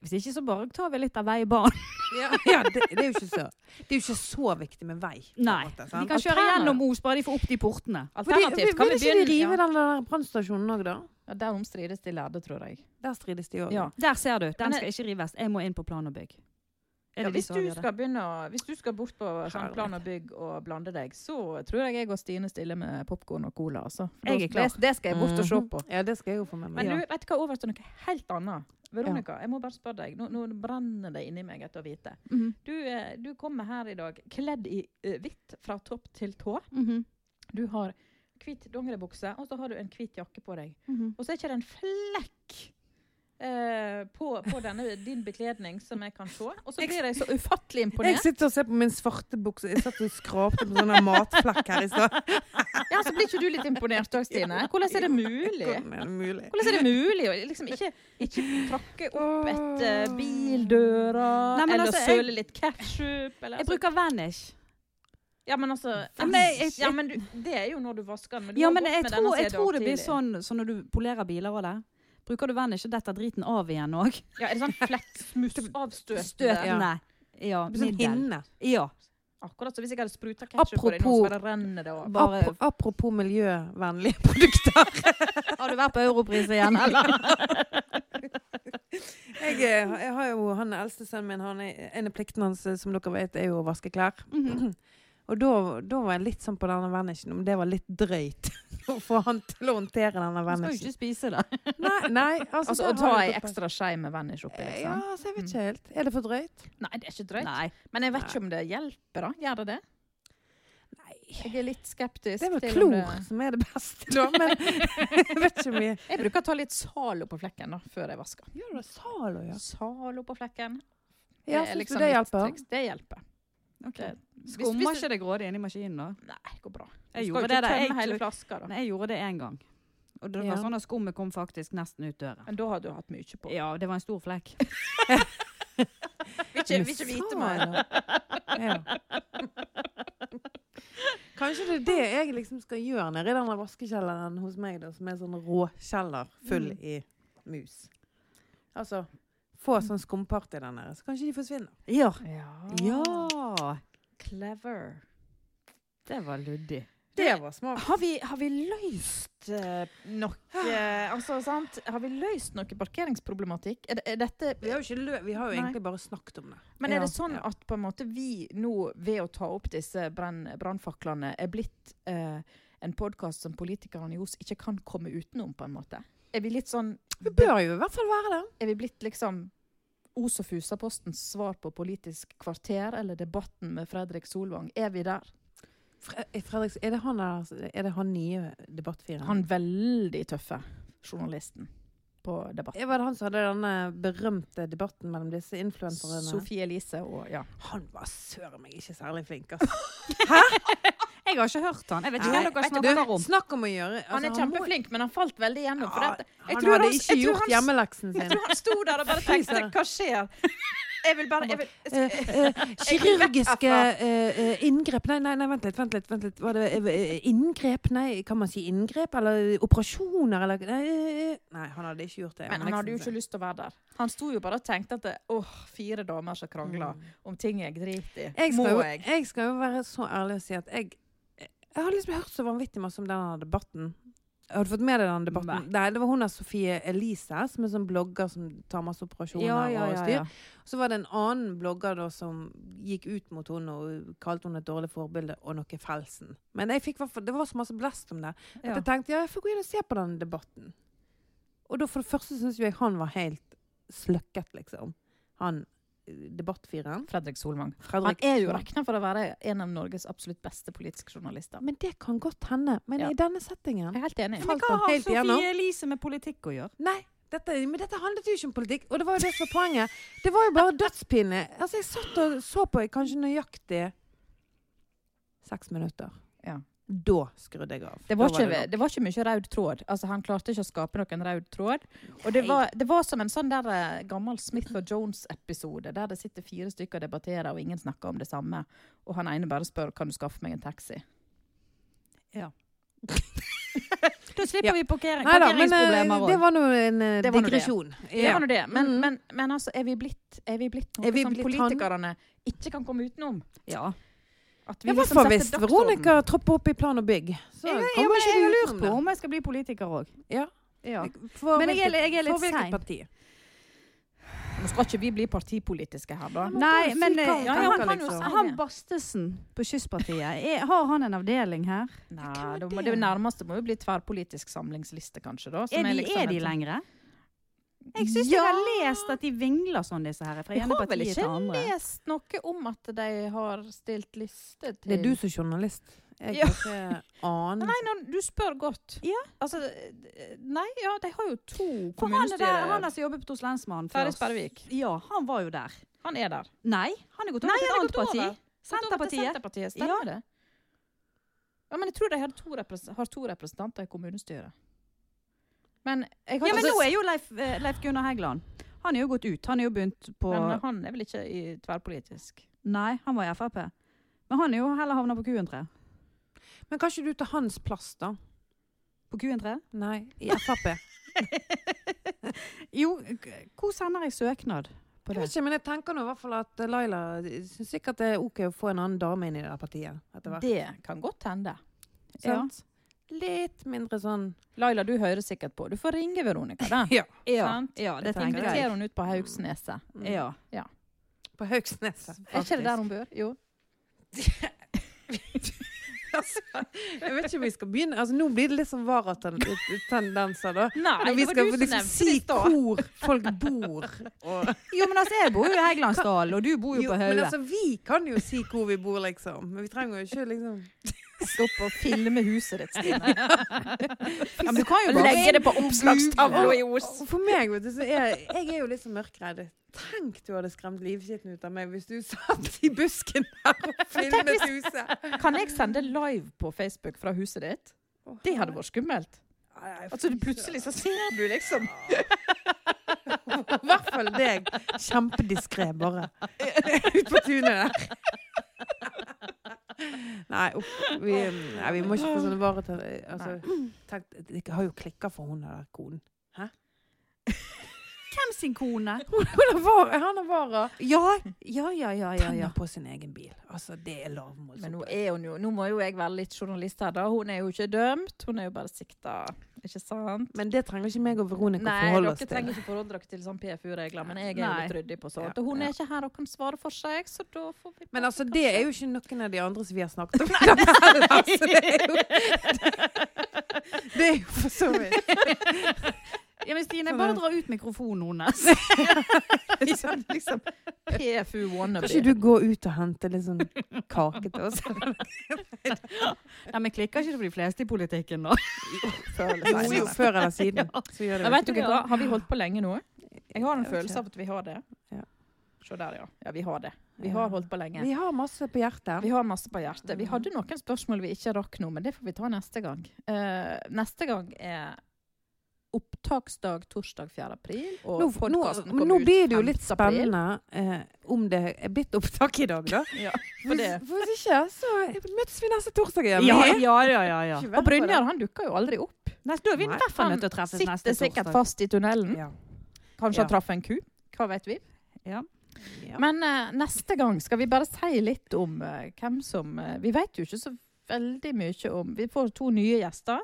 Hvis ikke, så bare tar vi litt av vei i banen.
Ja, ja det, det, er jo ikke så, det er jo ikke så viktig med vei. på en
Nei,
måte, sant?
Vi kan kjøre
Alternativ.
gjennom Os, bare de får opp de portene.
Alternativt kan vi begynne
Vil ikke de rive
ja.
den der brannstasjonen òg, da?
ja, Der omstrides de lærde, tror jeg.
Der strides de òg.
Ja.
Der ser du. Den
Men-
skal ikke rives. Jeg må inn på plan og bygg. Er
Ja,
det de
hvis,
som
du
avgjør det?
skal begynne, å- hvis du skal bort på sånn plan og bygg og blande deg, så tror jeg jeg og Stine stiller med popkorn og cola. Altså. For
Jeg
da-
er klar. Mm-hmm.
Det, det skal jeg bort og se på.
Ja, det skal jeg jo få med meg.
Men
Ja.
du, vet du hva, over til noe helt annet. Veronica, jeg må bare spørre deg. Nå, nå brenner det inni meg etter å vite.
Mhm.
Du, eh, du kommer her i dag kledd i eh, hvitt fra topp til tå.
Mhm.
Du har hvit dongeribukse, og så har du en hvit jakke på deg.
Mhm.
Og så er ikke det en flekk eh, på, på denne, din bekledning som jeg kan se. Og så blir jeg så ufattelig
Jeg
imponert.
sitter og ser på min svarte bukse. Jeg satt og skrapte på sånne matflekk her i stad.
Ja, så blir ikke du litt imponert òg, Stine? Hvordan er det mulig?
Hvordan er det mulig?
Hvordan er det mulig å liksom ikke, ikke trakke opp et eh, bildøra,
Nei, men
eller
altså, jeg-
søle litt ketsjup?
Jeg bruker Vanish.
Ja, men altså
Ja, men jeg- jeg-
ja, men du, Det er jo når du vasker den. altså, Men du
Ja,
har
men
gått
jeg
med
tror,
denne
jeg
siden
tror det blir
tidlig.
sånn som når du polerer biler og det. Bruker du Vanish, så detter driten av igjen òg.
Ja, Er det sånn flekksmussavstøt?
ja.
Støtende. Ja.
Det blir Sånn
middel.
hinne.
Ja.
Akkurat som hvis jeg hadde spruta ketsjup på deg nå, så
Apropos-
bare renner det av.
Bare-
Apro- Apropos miljøvennlige produkter.
Har du vært på Europris igjen, eller?
Jeg, eh, jeg har jo han eldste sønnen min. Han er, en av pliktene hans, eh, som dere vet, er jo å vaske klær. Mhm. Og da, da var jeg litt sånn på denne vanishen, om det var litt drøyt å få han til å håndtere denne
Du skal jo
vanishen.
ikke spise det.
Nei, nei, altså,
Altså,
der
Å ta
har du
ei
toppen.
ekstra skei med Vanish oppi,
Eh,
liksom.
Ja, så jeg vet ikke helt. Er det for drøyt?
Nei, det er ikke drøyt.
Nei.
Men jeg vet ikke om det hjelper, da. Gjør det det?
Nei.
Jeg er litt skeptisk.
Det er vel
til om
klor som er det beste, da. Men jeg vet ikke om vi
Jeg bruker å ta litt Zalo på flekken da, før jeg vasker.
Gjør du Zalo, ja?
Zalo på flekken.
Ja,
er
syns
liksom
du det
mitt
hjelper?
triks. Det hjelper.
Okay.
Hvis-
Skummer
hvis du-
ikke det grådig inni maskinen, da?
Nei, det går bra.
Jeg
Du skal
gjorde det
jo ikke
da.
tømme
Jeg
hele
tror-
flaska, da.
Men jeg gjorde det én gang. Og det var
Ja.
sånn at skummet kom faktisk nesten ut døren.
Men da har du hatt mye på.
Ja, det var en stor flekk.
Vil ikke, vil ikke vite mer.
Ja. Kanskje det er det jeg liksom skal gjøre nede i denne vaskekjelleren hos meg, da, som er sånn råkjeller full
Mm.
i mus. Altså få
Mm.
sånn skumparty der nede, så kanskje de forsvinner.
Ja.
Ja.
ja.
Clever.
Det var luddig.
Det var smart.
Har vi, har vi løst eh, noe eh, Altså, sant? Har vi løst noe parkeringsproblematikk? Er, det- er dette
Vi har jo, ikke lø vi har jo
Nei.
egentlig bare snakket om det.
Men er det
Ja.
sånn at på en måte vi nå, ved å ta opp disse brann- brannfaklene, er blitt eh, en podkast som politikerne i Os ikke kan komme utenom, på en måte? Er vi litt sånn
Vi bør jo i hvert fall være det.
Er vi blitt liksom Os og Fusapostens svar på Politisk kvarter eller Debatten med Fredrik Solvang? Er vi der?
Fre Fredriks, er det han der Er det han nye debattfireren?
Han veldig tøffe journalisten på Debatt.
Ja, Var det han som hadde denne berømte debatten mellom disse influenserne?
Sofie Elise og ja.
Han var søren meg ikke særlig flink, altså.
Jeg har ikke hørt han. Jeg vet ikke
Nei, vet
hvem dere
du,
snakker om.
Snakk om å gjøre altså,
Han er kjempeflink, men han falt veldig
må-
igjennom. For
Ja,
dette. jeg
han
tror
hadde
han-
ikke
jeg tror
gjort
han-
hjemmeleksen
Jeg
sin.
tror han sto der og bare
Fy
tenkte
søren.
Hva skjer? Jeg vil bare jeg vil,
Eh, eh, kirurgiske eh, eh, inngrep Nei, nei, nei, vent litt. Vent litt, vent litt. Var det eh, eh, inngrep? Nei, kan man si inngrep? Eller operasjoner? Eller nei, eh, eh. nei, han hadde ikke gjort det.
Men han hadde jo ikke lyst til å være der. Han sto jo bare og tenkte at det- åh, fire damer som krangler om ting jeg driter i.
jeg
Må
skal, jo,
Mm. jeg?
jeg skal jo være så ærlig og si at jeg Jeg har liksom hørt så vanvittig masse om denne debatten. Har du fått med deg den debatten? Nei. det var hun der Sofie Elise, som er sånn blogger som tar masse operasjoner og styr. Så var det en annen blogger da som gikk ut mot henne og kalte henne et dårlig forbilde og noe felsen. Men jeg fikk, hvertfall- det var så masse blest om det at
Ja.
jeg tenkte ja, jeg får gå inn og se på den debatten. Og da for det første syns jo jeg han var helt sløkket, liksom. Han eh, debattfireren.
Fredrik Solvang. Han
Fredrik.
er jo regna for å være en av Norges absolutt beste politiske journalister.
Men det kan godt hende. Men
Ja.
i denne settingen
Jeg er helt enig.
falt
Hva
han
har
helt igjennom.
Sofie Elise med politikk å gjøre?
Nei, dette, men dette handlet jo ikke om politikk. Og det var jo det som var poenget. Det var jo bare dødspinne. Altså, jeg satt og så på i kanskje nøyaktig seks minutter.
Ja.
Da skrudde jeg av.
Det var,
Da
ikke, det var ikke mye rød tråd. Altså, han klarte ikke å skape noen rød tråd. Og det var, det var som en sånn der eh, gammel Smith og Jones-episode, der det sitter fire stykker og debatterer, og ingen snakker om det samme. Og han ene bare spør kan du skaffe meg en taxi.
Ja.
det
Da slipper
Ja.
vi parkering,
Nei da, men
parkeringsproblemer
eh,
også.
det var nå en eh,
Det var nå det.
digresjon.
Det
Ja.
var nå det. Men, men, men altså, er vi blitt, er vi blitt noe
Er vi
som
blitt han?
politikerne ikke kan komme utenom?
Ja.
At
I hvert
liksom
fall
setter
hvis
dagsorden.
Veronica tropper opp i plan og bygg. Så
Ja, ja,
kommer
men
ikke
jeg har
vi
lurt
utenom
på
det.
om jeg skal bli politiker òg.
Ja.
Ja.
For
Men jeg er-
hvilket-
jeg er litt
for hvilket
sein.
parti?
Nå skal ikke vi bli partipolitiske her, da.
Nei, men
si
eh,
hva
ja,
han
han,
tenker,
kan jo
liksom.
si- han Bastesen på Kystpartiet, er, har han en avdeling her?
Nei, det, må, det nærmeste må jo bli tverrpolitisk samlingsliste, kanskje. da. som
Er de,
liksom
er de
et-
lengre? Jeg syns jeg har lest at de vingler sånn, disse her. Fra
Jeg
ene
har vel
partiet til
ikke
andre.
lest noe om at de har stilt liste til
Det er du som er journalist. Jeg har
Ja.
ikke anet.
Nei, nå, du spør godt.
Ja.
Altså, eh, nei, ja, de har jo to
For han er der, han
kommunestyrer.
har som jobbet på hos lensmannen
Terje
før.
Sperrevik.
Ja, han var jo der.
Han er der.
Nei, han er gått over
Nei,
til et
han er
annet
gått
parti.
over. Gått over til
Senterpartiet.
Senterpartiet, stemmer det? Ja, men jeg tror de har to, represen- har to representanter i kommunestyret. Men jeg har
Ja, men
altså-
nå er jo Leif, eh, Leif Gunnar Hægeland Han er jo gått ut. Han er jo begynt på
Men han er vel ikke i tverrpolitisk?
Nei, han var i Frp. Men han er jo heller havna på Q-en-tre.
Men kan ikke du ta hans plass, da?
På Q-en-tre?
Nei, i Frp.
Jo, k- hvor sender jeg søknad på
Jeg vet
det?
ikke, men jeg tenker nå i hvert fall at eh, Laila syns sikkert det er OK å få en annen dame inn i det der partiet etter hvert.
Det kan godt hende.
Ja.
Sant? Litt mindre sånn
Laila, du hører sikkert på. Du får ringe Veronica, da.
Ja.
Ja,
Sant?
ja, det tenker
Inviter
jeg.
hun ut på Haugsneset.
Ja.
på Høgsneset.
Er ikke det der hun bor? Jo.
Altså, jeg vet ikke om vi skal begynne. Altså, nå blir det litt sånn varatendenser, da.
Nei,
Når vi skal liksom si hvor folk bor. Og,
Jo, men altså, jeg bor jo i Hægelandsdalen, og du bor jo
jo,
på
men
Haule.
altså, vi kan jo si hvor vi bor, liksom. Men vi trenger jo ikke liksom
Stopp og filme huset ditt, Stine.
Ja, men du kan jo bare
Legge det på oppslagstavla i Os.
Og For meg, vet du, så er jeg er jo litt sånn mørkredd. Tenk du hadde skremt livskiten ut av meg hvis du satt i busken der og filmet huset.
Kan jeg sende live på Facebook fra huset ditt? Det hadde vært skummelt. Altså, du plutselig så ser du liksom
I hvert fall deg. Kjempediskré, bare. Ut på tunet der. Nei, uff. Vi, nei, vi må ikke få sånne varer til altså, tenk, Det har jo klikka for hun der konen.
Hvem sin kone?
Hun har vare, han har vare.
Ja, ja, ja, ja. ja, ja.
Tenner på sin egen bil. Altså, det er lavmål.
Men nå, er hun jo, nå må jo jeg være litt journalist her, da. Hun er jo ikke dømt, hun er jo bare sikta. Ikke sant?
Men det trenger ikke meg og Veronica
Nei,
forholde
dere
oss til.
trenger ikke forholde dere til sånn PFU-regler, men jeg er jo
Nei.
litt ryddig på sånt.
Ja,
Og hun
ja.
er ikke her og kan svare for seg, så da får vi
Men
bare
altså, det
kanskje-
er jo ikke noen av de andre som vi har snakket om. altså, det er jo Det er jo for så vidt
Ja, men Stine, bare dra ut mikrofonen hennes.
liksom, liksom PFU
Kan ikke
wannabe.
du gå ut og hente litt sånn kake til oss?
Ja, men klikker ikke det for de fleste i politikken, da?
Jo, jo, før eller siden. Så gjør
Ja,
det
vet dere hva? Har vi holdt på lenge nå? Jeg har en
Jeg vet
følelse av at vi har det.
Ja.
Se der, ja. Ja, vi har det. Vi
Ja.
har holdt på lenge.
Vi har masse på hjertet.
Vi har masse på hjertet. Vi hadde noen spørsmål vi ikke rakk nå, men det får vi ta neste gang. Eh, neste gang er opptaksdag torsdag 4. april, og
Nå, nå,
podkasten
men
kommer
nå
ut
blir det jo
5.
litt
april.
spennende eh, om det er blitt opptak i dag, da.
Ja, for
Hvis,
det.
for hvis ikke, så møtes vi neste torsdag igjen.
Ja,
Vi er
ja, ja. ja, ja.
ikke
Og
vel på det.
Brynjar han dukker jo aldri opp.
Nei, da er vi i
Nei.
hvert fall nødt til å treffes neste
Sitter sikkert
torsdag.
fast i tunnelen.
Ja.
Kanskje
Ja.
han traff en ku. Hva vet vi?
Ja.
Ja.
Men eh, neste gang skal vi bare si litt om eh, hvem som eh, Vi vet jo ikke så veldig mye om Vi får to nye gjester.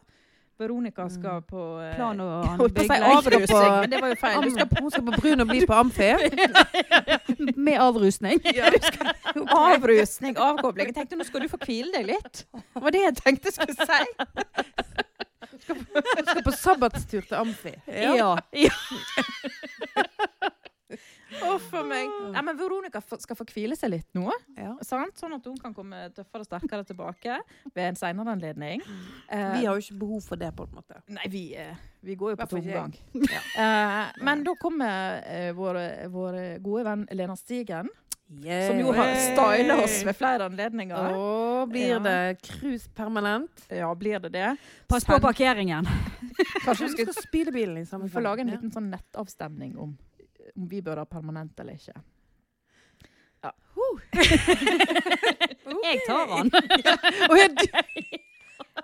Veronica skal på eh,
Plan og
Holdt på å si
byggleik.
Bygleik.
avrusing, men det var jo feil.
Am-
Du skal
Hun skal på Brun og bli på Amfi.
Med avrusning.
på avrusning, avkobling. Jeg tenkte nå skal du få hvile deg litt. Det var det jeg tenkte jeg skulle si.
Hun skal på sabbatstur til Amfi.
Ja.
Uff a meg. Nei, men Veronica f- skal få hvile seg litt nå,
Ja.
sant? sånn at hun kan komme tøffere og sterkere tilbake ved en senere anledning. Eh,
Vi har jo ikke behov for det, på en måte.
Nei, vi, eh, vi går jo på
Hvert fall ikke
tomgang. Eh, men da kommer eh, vår, vår gode venn Lena Stigen, som jo har styla oss ved flere anledninger.
Og
Ja.
blir det cruise permanent?
Ja, blir det det?
Pass på parkeringen.
Kanskje vi
skal
skal
spyle bilen i samme
få lage en liten sånn nettavstemning om, om vi bør ha permanent eller ikke.
Jeg tar den.
Å, ja, du-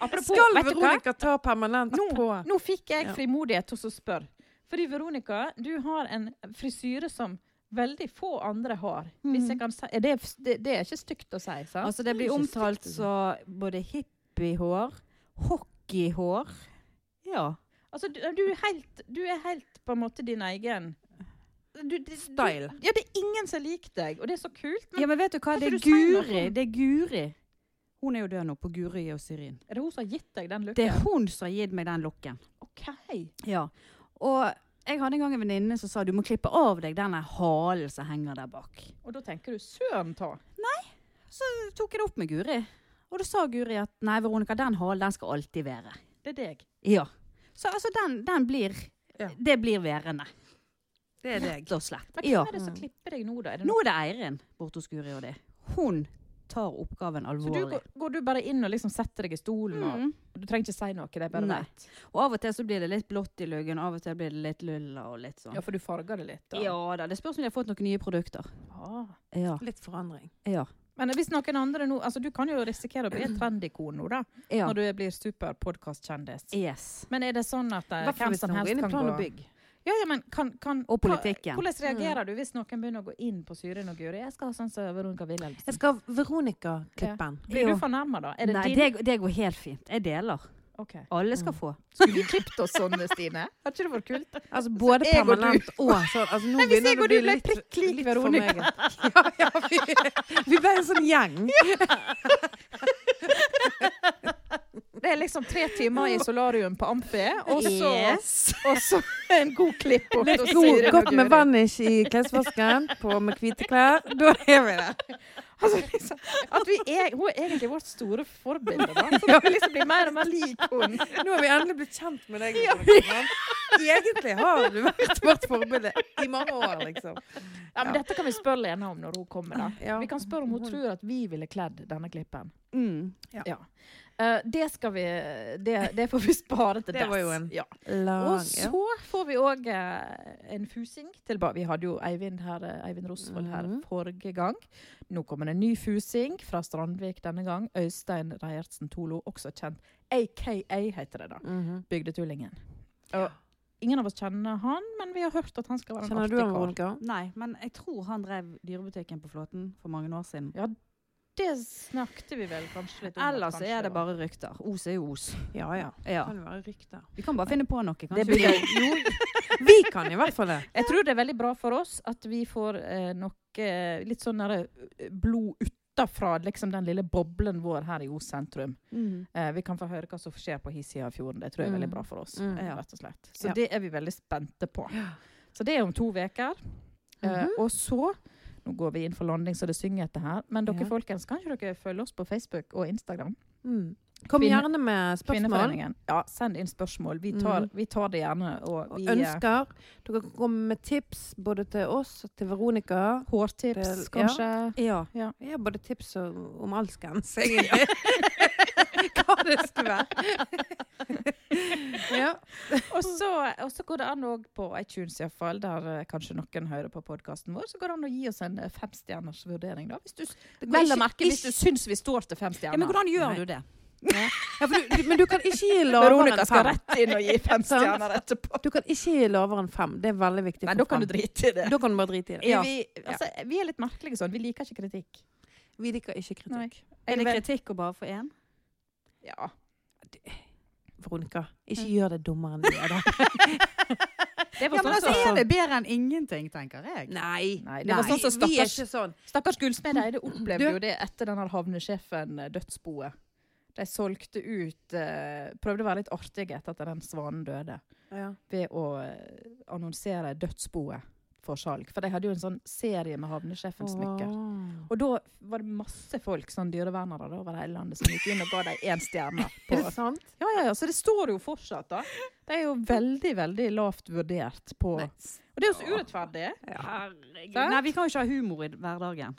Apropos,
Skal
vet du hva?
Veronica ta permanent
Nå-
på
Nå fikk jeg
Ja.
frimodighet til å spørre. Fordi Veronica, du har en frisyre som veldig få andre har. Hvis jeg kan si, er det, det, det er ikke stygt å si, sant?
Altså, det blir omtalt så både hippiehår, hockeyhår Ja.
Altså, du, du, er helt, du er helt på en måte din egen du, det-
style?
Du, ja, det er ingen som liker deg, og det er så kult. Men
Ja, men vet du hva?
Kan
Det
ikke du
er
si noe
Guri.
om-
Det er Guri. Hun er jo død nå, på Guri og Syrin.
er det hun som har gitt deg den
Det
looken?
er hun som har gitt meg den lokken.
OK.
Ja. Og jeg hadde en gang en venninne som sa du må klippe av deg denne halen som henger der bak.
Og da tenker du søren ta.
Så tok jeg det opp med Guri. Og da sa Guri at nei, Veronica, den halen den skal alltid være.
Det er deg.
Ja. Så altså, den, den blir
Ja.
Det blir værende,
Det er deg.
rett og slett.
Men hvem
Ja.
er det som klipper deg nå, da? Er det
Nå er det Eirin borte hos Guri og det. Hun tar
Så
oppgaven
du,
alvorlig.
går, går du bare inn og liksom setter deg i stolen? Og,
Mm.
Du trenger ikke si noe, det er bare
Nei.
vet.
Og av og til så blir det litt blått i luggen, av og til blir det litt lulla og litt sånn.
Ja, for du farger det litt. da.
Ja da, det spørs om de har fått noen nye produkter.
Ah.
Ja.
Litt forandring.
Ja.
Men hvis noen andre nå Altså, du kan jo risikere å bli et trendikon nå, da.
ja.
Når du blir superpodkastkjendis.
Yes.
Men er det sånn at eh,
Hvertfall
hvem
hvis
som
noen
helst
går inn i
kan
plan og
gå
bygg. Mm.
ja, ja, men kan, kan,
Og
hva-
politikken.
Hvordan reagerer du hvis noen begynner å gå inn på Syrin og Guri? Jeg skal ha sånn som Veronica
Jeg
Wilhelmsen.
skal ha Veronica-klippen.
Blir
Ja.
du fornærma da? Er det
Nei,
din?
det, det går helt fint. Jeg deler.
Ok.
Alle skal få.
Skulle vi klippet oss sånn, Stine? Hadde ikke det vært kult?
Altså både
jeg og du-
permanent og sånn. Altså, nå
hvis
begynner
jeg
det å
og
bli
du ble
litt,
prikk lik
litt
Veronica.
for meg. Ja, ja, vi, vi ble en sånn gjeng.
Det er liksom tre timer i solarium på Amfi, og så,
Yes.
og så en god klipp opp til
God,
Syrin og
godt med
Guri.
vanish i klesvasken på med hvite klær. Da er vi der.
Altså, liksom, at vi er, hun er egentlig vårt store forbilde. Da. Så vi liksom blir mer og mer lik henne.
Nå har vi endelig blitt kjent med deg. Veronica. Egentlig har du vært vårt forbilde i mange år, liksom.
Ja, men dette kan vi spørre Lena om når hun kommer. da.
Ja.
Vi kan spørre om hun tror at vi ville kledd denne klippen.
Mm.
Ja. Eh, det skal vi Det, det får vi spare til
Det var jo
dess.
en-
Ja.
Lang,
Og så får vi òg en fusing tilbake. Vi hadde jo Eivind, her, eh, Eivind Rosvold her
Mhm.
forrige gang. Nå kommer en ny fusing fra Strandvik denne gang. Øystein Reiertsen Tolo, også kjent AKA, heter det da.
Mhm.
Bygdetullingen. Og ingen av oss kjenner han, men vi har hørt at han skal være en
Kjenner du
artig
han,
kar.
Veronica?
Nei, men jeg tror han drev dyrebutikken på Flåten for mange år siden.
Det snakket vi vel kanskje litt om. at
Ellers
kanskje
er det
var-
bare rykter. Os er jo os.
Ja, ja.
Ja.
Kan jo være rykter.
Vi kan bare finne på noe. Kanskje
Det blir-
vi skal- jo,
Vi kan i hvert fall det.
Jeg tror det er veldig bra for oss at vi får eh, noe eh, litt sånn derre, eh, blod utafra liksom den lille boblen vår her i Os sentrum.
Mm.
Eh, vi kan få høre hva som skjer på Hisøyafjorden. Det tror jeg er veldig bra for oss.
Mm.
eh,
Ja.
rett og slett. Så
Ja.
det er vi veldig spente på. Så det er om to uker. Eh,
Mhm.
og så Nå går vi inn for landing, så det synger etter her. Men dere
Ja.
folkens, kan ikke dere følge oss på Facebook og Instagram?
Mm. Kom
Kvinne-
gjerne med spørsmål.
Kvinneforeningen. Ja, send inn spørsmål. Vi tar,
Mhm.
vi tar det gjerne. Og
Og
vi, eh,
ønsker. Dere kan komme med tips både til oss og til Veronica.
Hårtips,
Vel,
kanskje.
Ja.
Ja.
Jeg har både tips og- om alskens, egentlig. Hva det skulle være. ja.
Og så, og så går det an òg på iTunes, iallfall, der eh, kanskje noen hører på podkasten vår, så går det an å gi oss en eh, femstjerners vurdering, da. Hvis du, vel å merke hvis du syns vi står til fem
ja, men
stjerner.
hvordan gjør
Nei.
du det?
Ja, for du, du, men du kan ikke gi lavere
Veronica
enn
skal
fem.
rett inn og gi fem
Sant.
stjerner etterpå.
Du kan ikke gi lavere enn fem. Det er veldig viktig.
Nei,
for
da kan du
fem.
drite i det.
da kan du bare drite i det.
Vi, altså, vi er litt merkelige sånn. Vi liker ikke kritikk.
Vi liker ikke kritikk.
Er det
Jeg-
kritikk å bare få én?
Ja.
Veronica, ikke gjør det dummere enn du er. da.
Det var sånn som
altså, er det bedre enn ingenting, tenker jeg.
Nei.
Nei, det var sånn som
Vi- Vi er
stakkars-
ikke sånn.
Stakkars gullsmed Eide opplevde
Du-
jo det etter den her havnesjefen eh, dødsboet. De solgte ut eh, Prøvde å være litt artige etter at den svanen døde,
Ja.
ved å eh, annonsere dødsboet for salg. For de hadde jo en sånn serie med havnesjefens smykker.
Åh.
Og da var det masse folk, sånn dyrevernere da, over hele landet, som gikk inn og ga dem én stjerne.
Er
På.
det sant?
Ja, ja, ja, Så det står jo fortsatt, da. De er jo veldig, veldig lavt vurdert på
Nei.
Og det er jo så urettferdig.
Herregud. Nei, vi kan jo ikke ha humor i hverdagen.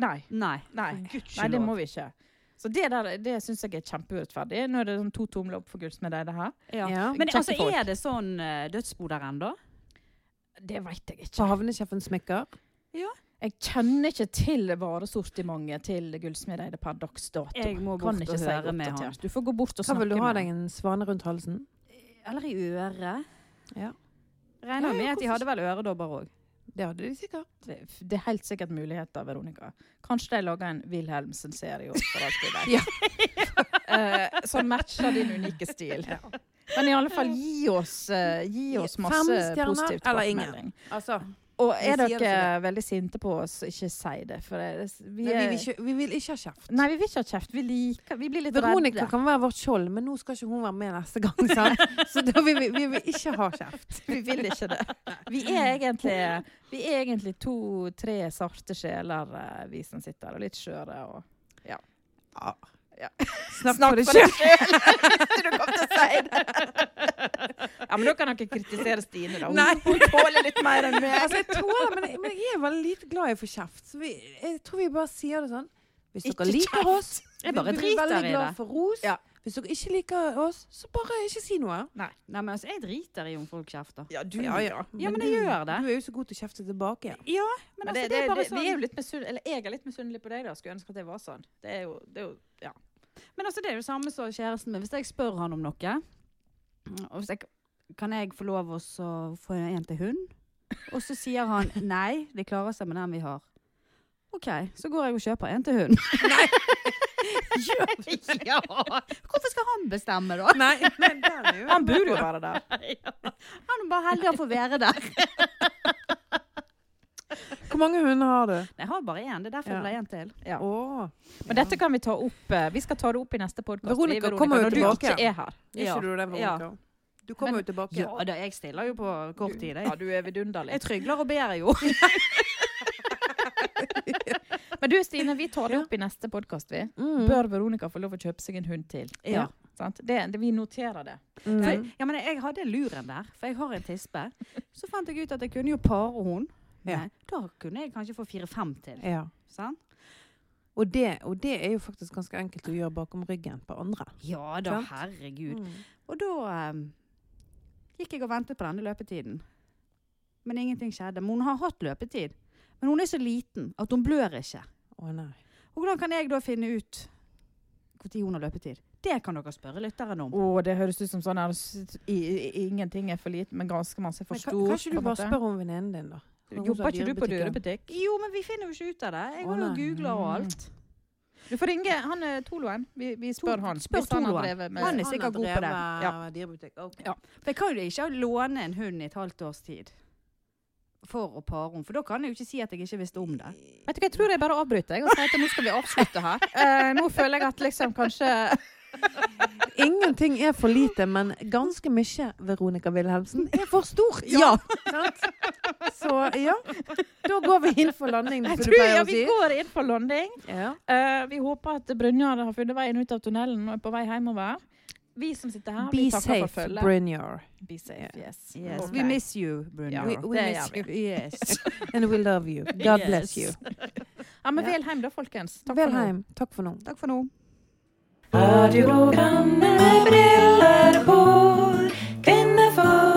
Nei.
Nei.
Nei. Nei, det
Gudskjelov.
må vi ikke. Så det der, det syns jeg er kjempeurettferdig. Nå er det sånn to tomler opp for gullsmedeide her.
Ja.
Ja.
Men
Kjekke
altså,
folk.
er det sånn eh, dødsbo der ennå?
Det veit jeg
På
ikke.
havnesjefens smykker?
Jeg kjenner ikke til varesortimentet til Gullsmedeide per dags dato.
Jeg må
Kan
bort
ikke
og
si
høre med han.
oppdatert. Du får gå bort og
Hva
snakke
vil du ha
med
deg? En svane rundt halsen?
Eller i øret.
Ja.
Regner
Ja, ja,
med at de
hvorfor-
hadde vel øredobber òg.
Det hadde de sikkert.
Det, det er helt sikkert muligheter, Veronica. Kanskje de lager en Wilhelmsen-serie også, for alt vi vet. Eh, som matcher din unike stil. Men i alle fall, gi oss, eh, gi oss
Fem
masse
stjerner,
positiv
eller ingen?
tilbakemelding.
Altså,
Og
Vi
er
sier
dere veldig sinte på oss, ikke si det. For det, vi,
nei, vi,
er,
vil ikke, vi vil ikke ha kjeft.
Nei, vi vil ikke ha kjeft. Vi liker Vi blir litt
Veronica
redde.
kan være vårt skjold, men nå skal ikke hun være med neste gang. Sant? Så da vil vi, vi vil ikke ha kjeft.
Vi vil ikke det. Vi er egentlig, vi er egentlig to-tre sarte sjeler, eh, vi som sitter her, og litt skjøre. Og
Snakk for deg sjøl.
du kom til å si det. Ja, men da kan dere kritisere Stine, da. Hun,
Nei.
hun tåler litt mer enn
Altså,
meg.
jeg tåler, men, jeg- men jeg er veldig lite glad i å få kjeft. Så vi, jeg tror vi bare sier det sånn. Hvis dere
Ikke
liker
kjeft.
oss,
Jeg
vi vi
bare
blir
driter
veldig
i
glad
det.
for ros.
Ja.
Hvis dere ikke liker oss, så bare ikke si noe.
Nei, men altså, jeg driter i om folk kjefter.
Ja, du,
Ja, ja.
Ja, men
du-
jeg gjør det.
Du er jo så god til å kjefte tilbake. Ja.
Men
Men, altså,
det,
det,
det,
er bare
det,
sånn,
vi er jo litt misunnelig, eller jeg er litt misunnelig på deg, da. Skulle ønske at det var sånn. Det er jo, det er jo ja.
men altså, det er jo samme som kjæresten min. Hvis jeg spør han om noe, og hvis jeg,
Kan jeg få lov å så få en til hund? Og så sier han nei, det klarer seg med den vi har. OK, så går jeg og kjøper en til hund.
ja.
Hvorfor skal han bestemme, da?
Nei, men den er jo
Han burde jo være der.
Han er bare heldig å få være der.
Hvor mange hunder har du?
Jeg har bare én. Det er derfor
Ja.
jeg ble en til.
Ja.
Åh.
Men dette kan vi ta opp. eh, Vi skal ta det opp i neste podkast.
Veronica kommer jo
når
tilbake.
du ikke er her.
Er ikke du det, Veronica? Du kommer
Men-
jo tilbake.
Ja, da, jeg stiller jo på kort tid.
Ja,
Jeg,
du er vidunderlig.
jeg trygler og ber jo.
Men du Stine, vi tar det opp i neste podkast, vi.
Mm.
Bør Veronica få lov å kjøpe seg en hund til?
Ja.
Sant? Det, det, vi noterer det.
Mm.
For, ja, men jeg hadde en lur en der, for jeg har en tispe. Så fant jeg ut at jeg kunne jo pare hun.
Ja.
Nei, Da kunne jeg kanskje få fire-fem til.
Ja.
Sant?
Og det, og det er jo faktisk ganske enkelt å gjøre bakom ryggen på andre.
Ja da,
Sant?
herregud.
Mm.
Og da eh, gikk jeg og ventet på denne løpetiden. Men ingenting skjedde. Men hun har hatt løpetid. Men hun er så liten at hun blør ikke.
Å nei.
Og hvordan kan jeg da finne ut når hun har løpetid? Det kan dere spørre lytteren om.
Å, det høres ut som sånn her s- i, i, Ingenting er for lite, men ganske masse er for
Men
stort.
kan, kan ikke
på
du
en
bare
måte?
spørre om venninnen din, da? Hun som har
Jobber ikke du på
dyrebutikken.
dyrebutikk?
Jo, men vi finner jo ikke ut av det. Jeg
Å,
har jo
nei.
googla og alt.
Du får ringe han eh, Toloen. Vi, vi spør han.
spør
hvis han har
Toloen.
drevet med
Han er sikkert god på det.
drevet
Ja.
dyrebutikk. ok.
Ja. For jeg kan jo ikke låne en hund i et halvt års tid for å pare henne. For da kan jeg jo ikke si at jeg ikke visste om det.
Vet du hva, Jeg tror jeg bare avbryter. Jeg og sier at nå skal vi avslutte her. Eh, nå føler jeg at liksom kanskje
Ingenting er for lite, men ganske mye, Veronica Wilhelmsen, er for stort.
Ja.
Sant? Så ja, da går vi inn for landing,
Jeg
som du
tror
pleier
ja,
å
Vi
si.
går inn for landing.
Ja.
Eh, vi håper at Brynjar har funnet veien ut av tunnelen og er på vei hjemover. Vi som sitter her,
Be
vi takker for
safe,
følget.
Brynjar.
Be safe, yes.
Yes,
Ok.
We miss you, Brynja.
Ja,
We, we
det
miss
gjør
you.
Yes.
And we love you. God bless you.
Yes.
Ja, men
Ja.
vel hjem da, folkens. Takk for
Vel
nå.
heim. Takk for nå.
Takk for nå.
Radioprogrammet med briller på. Kvinnefolk.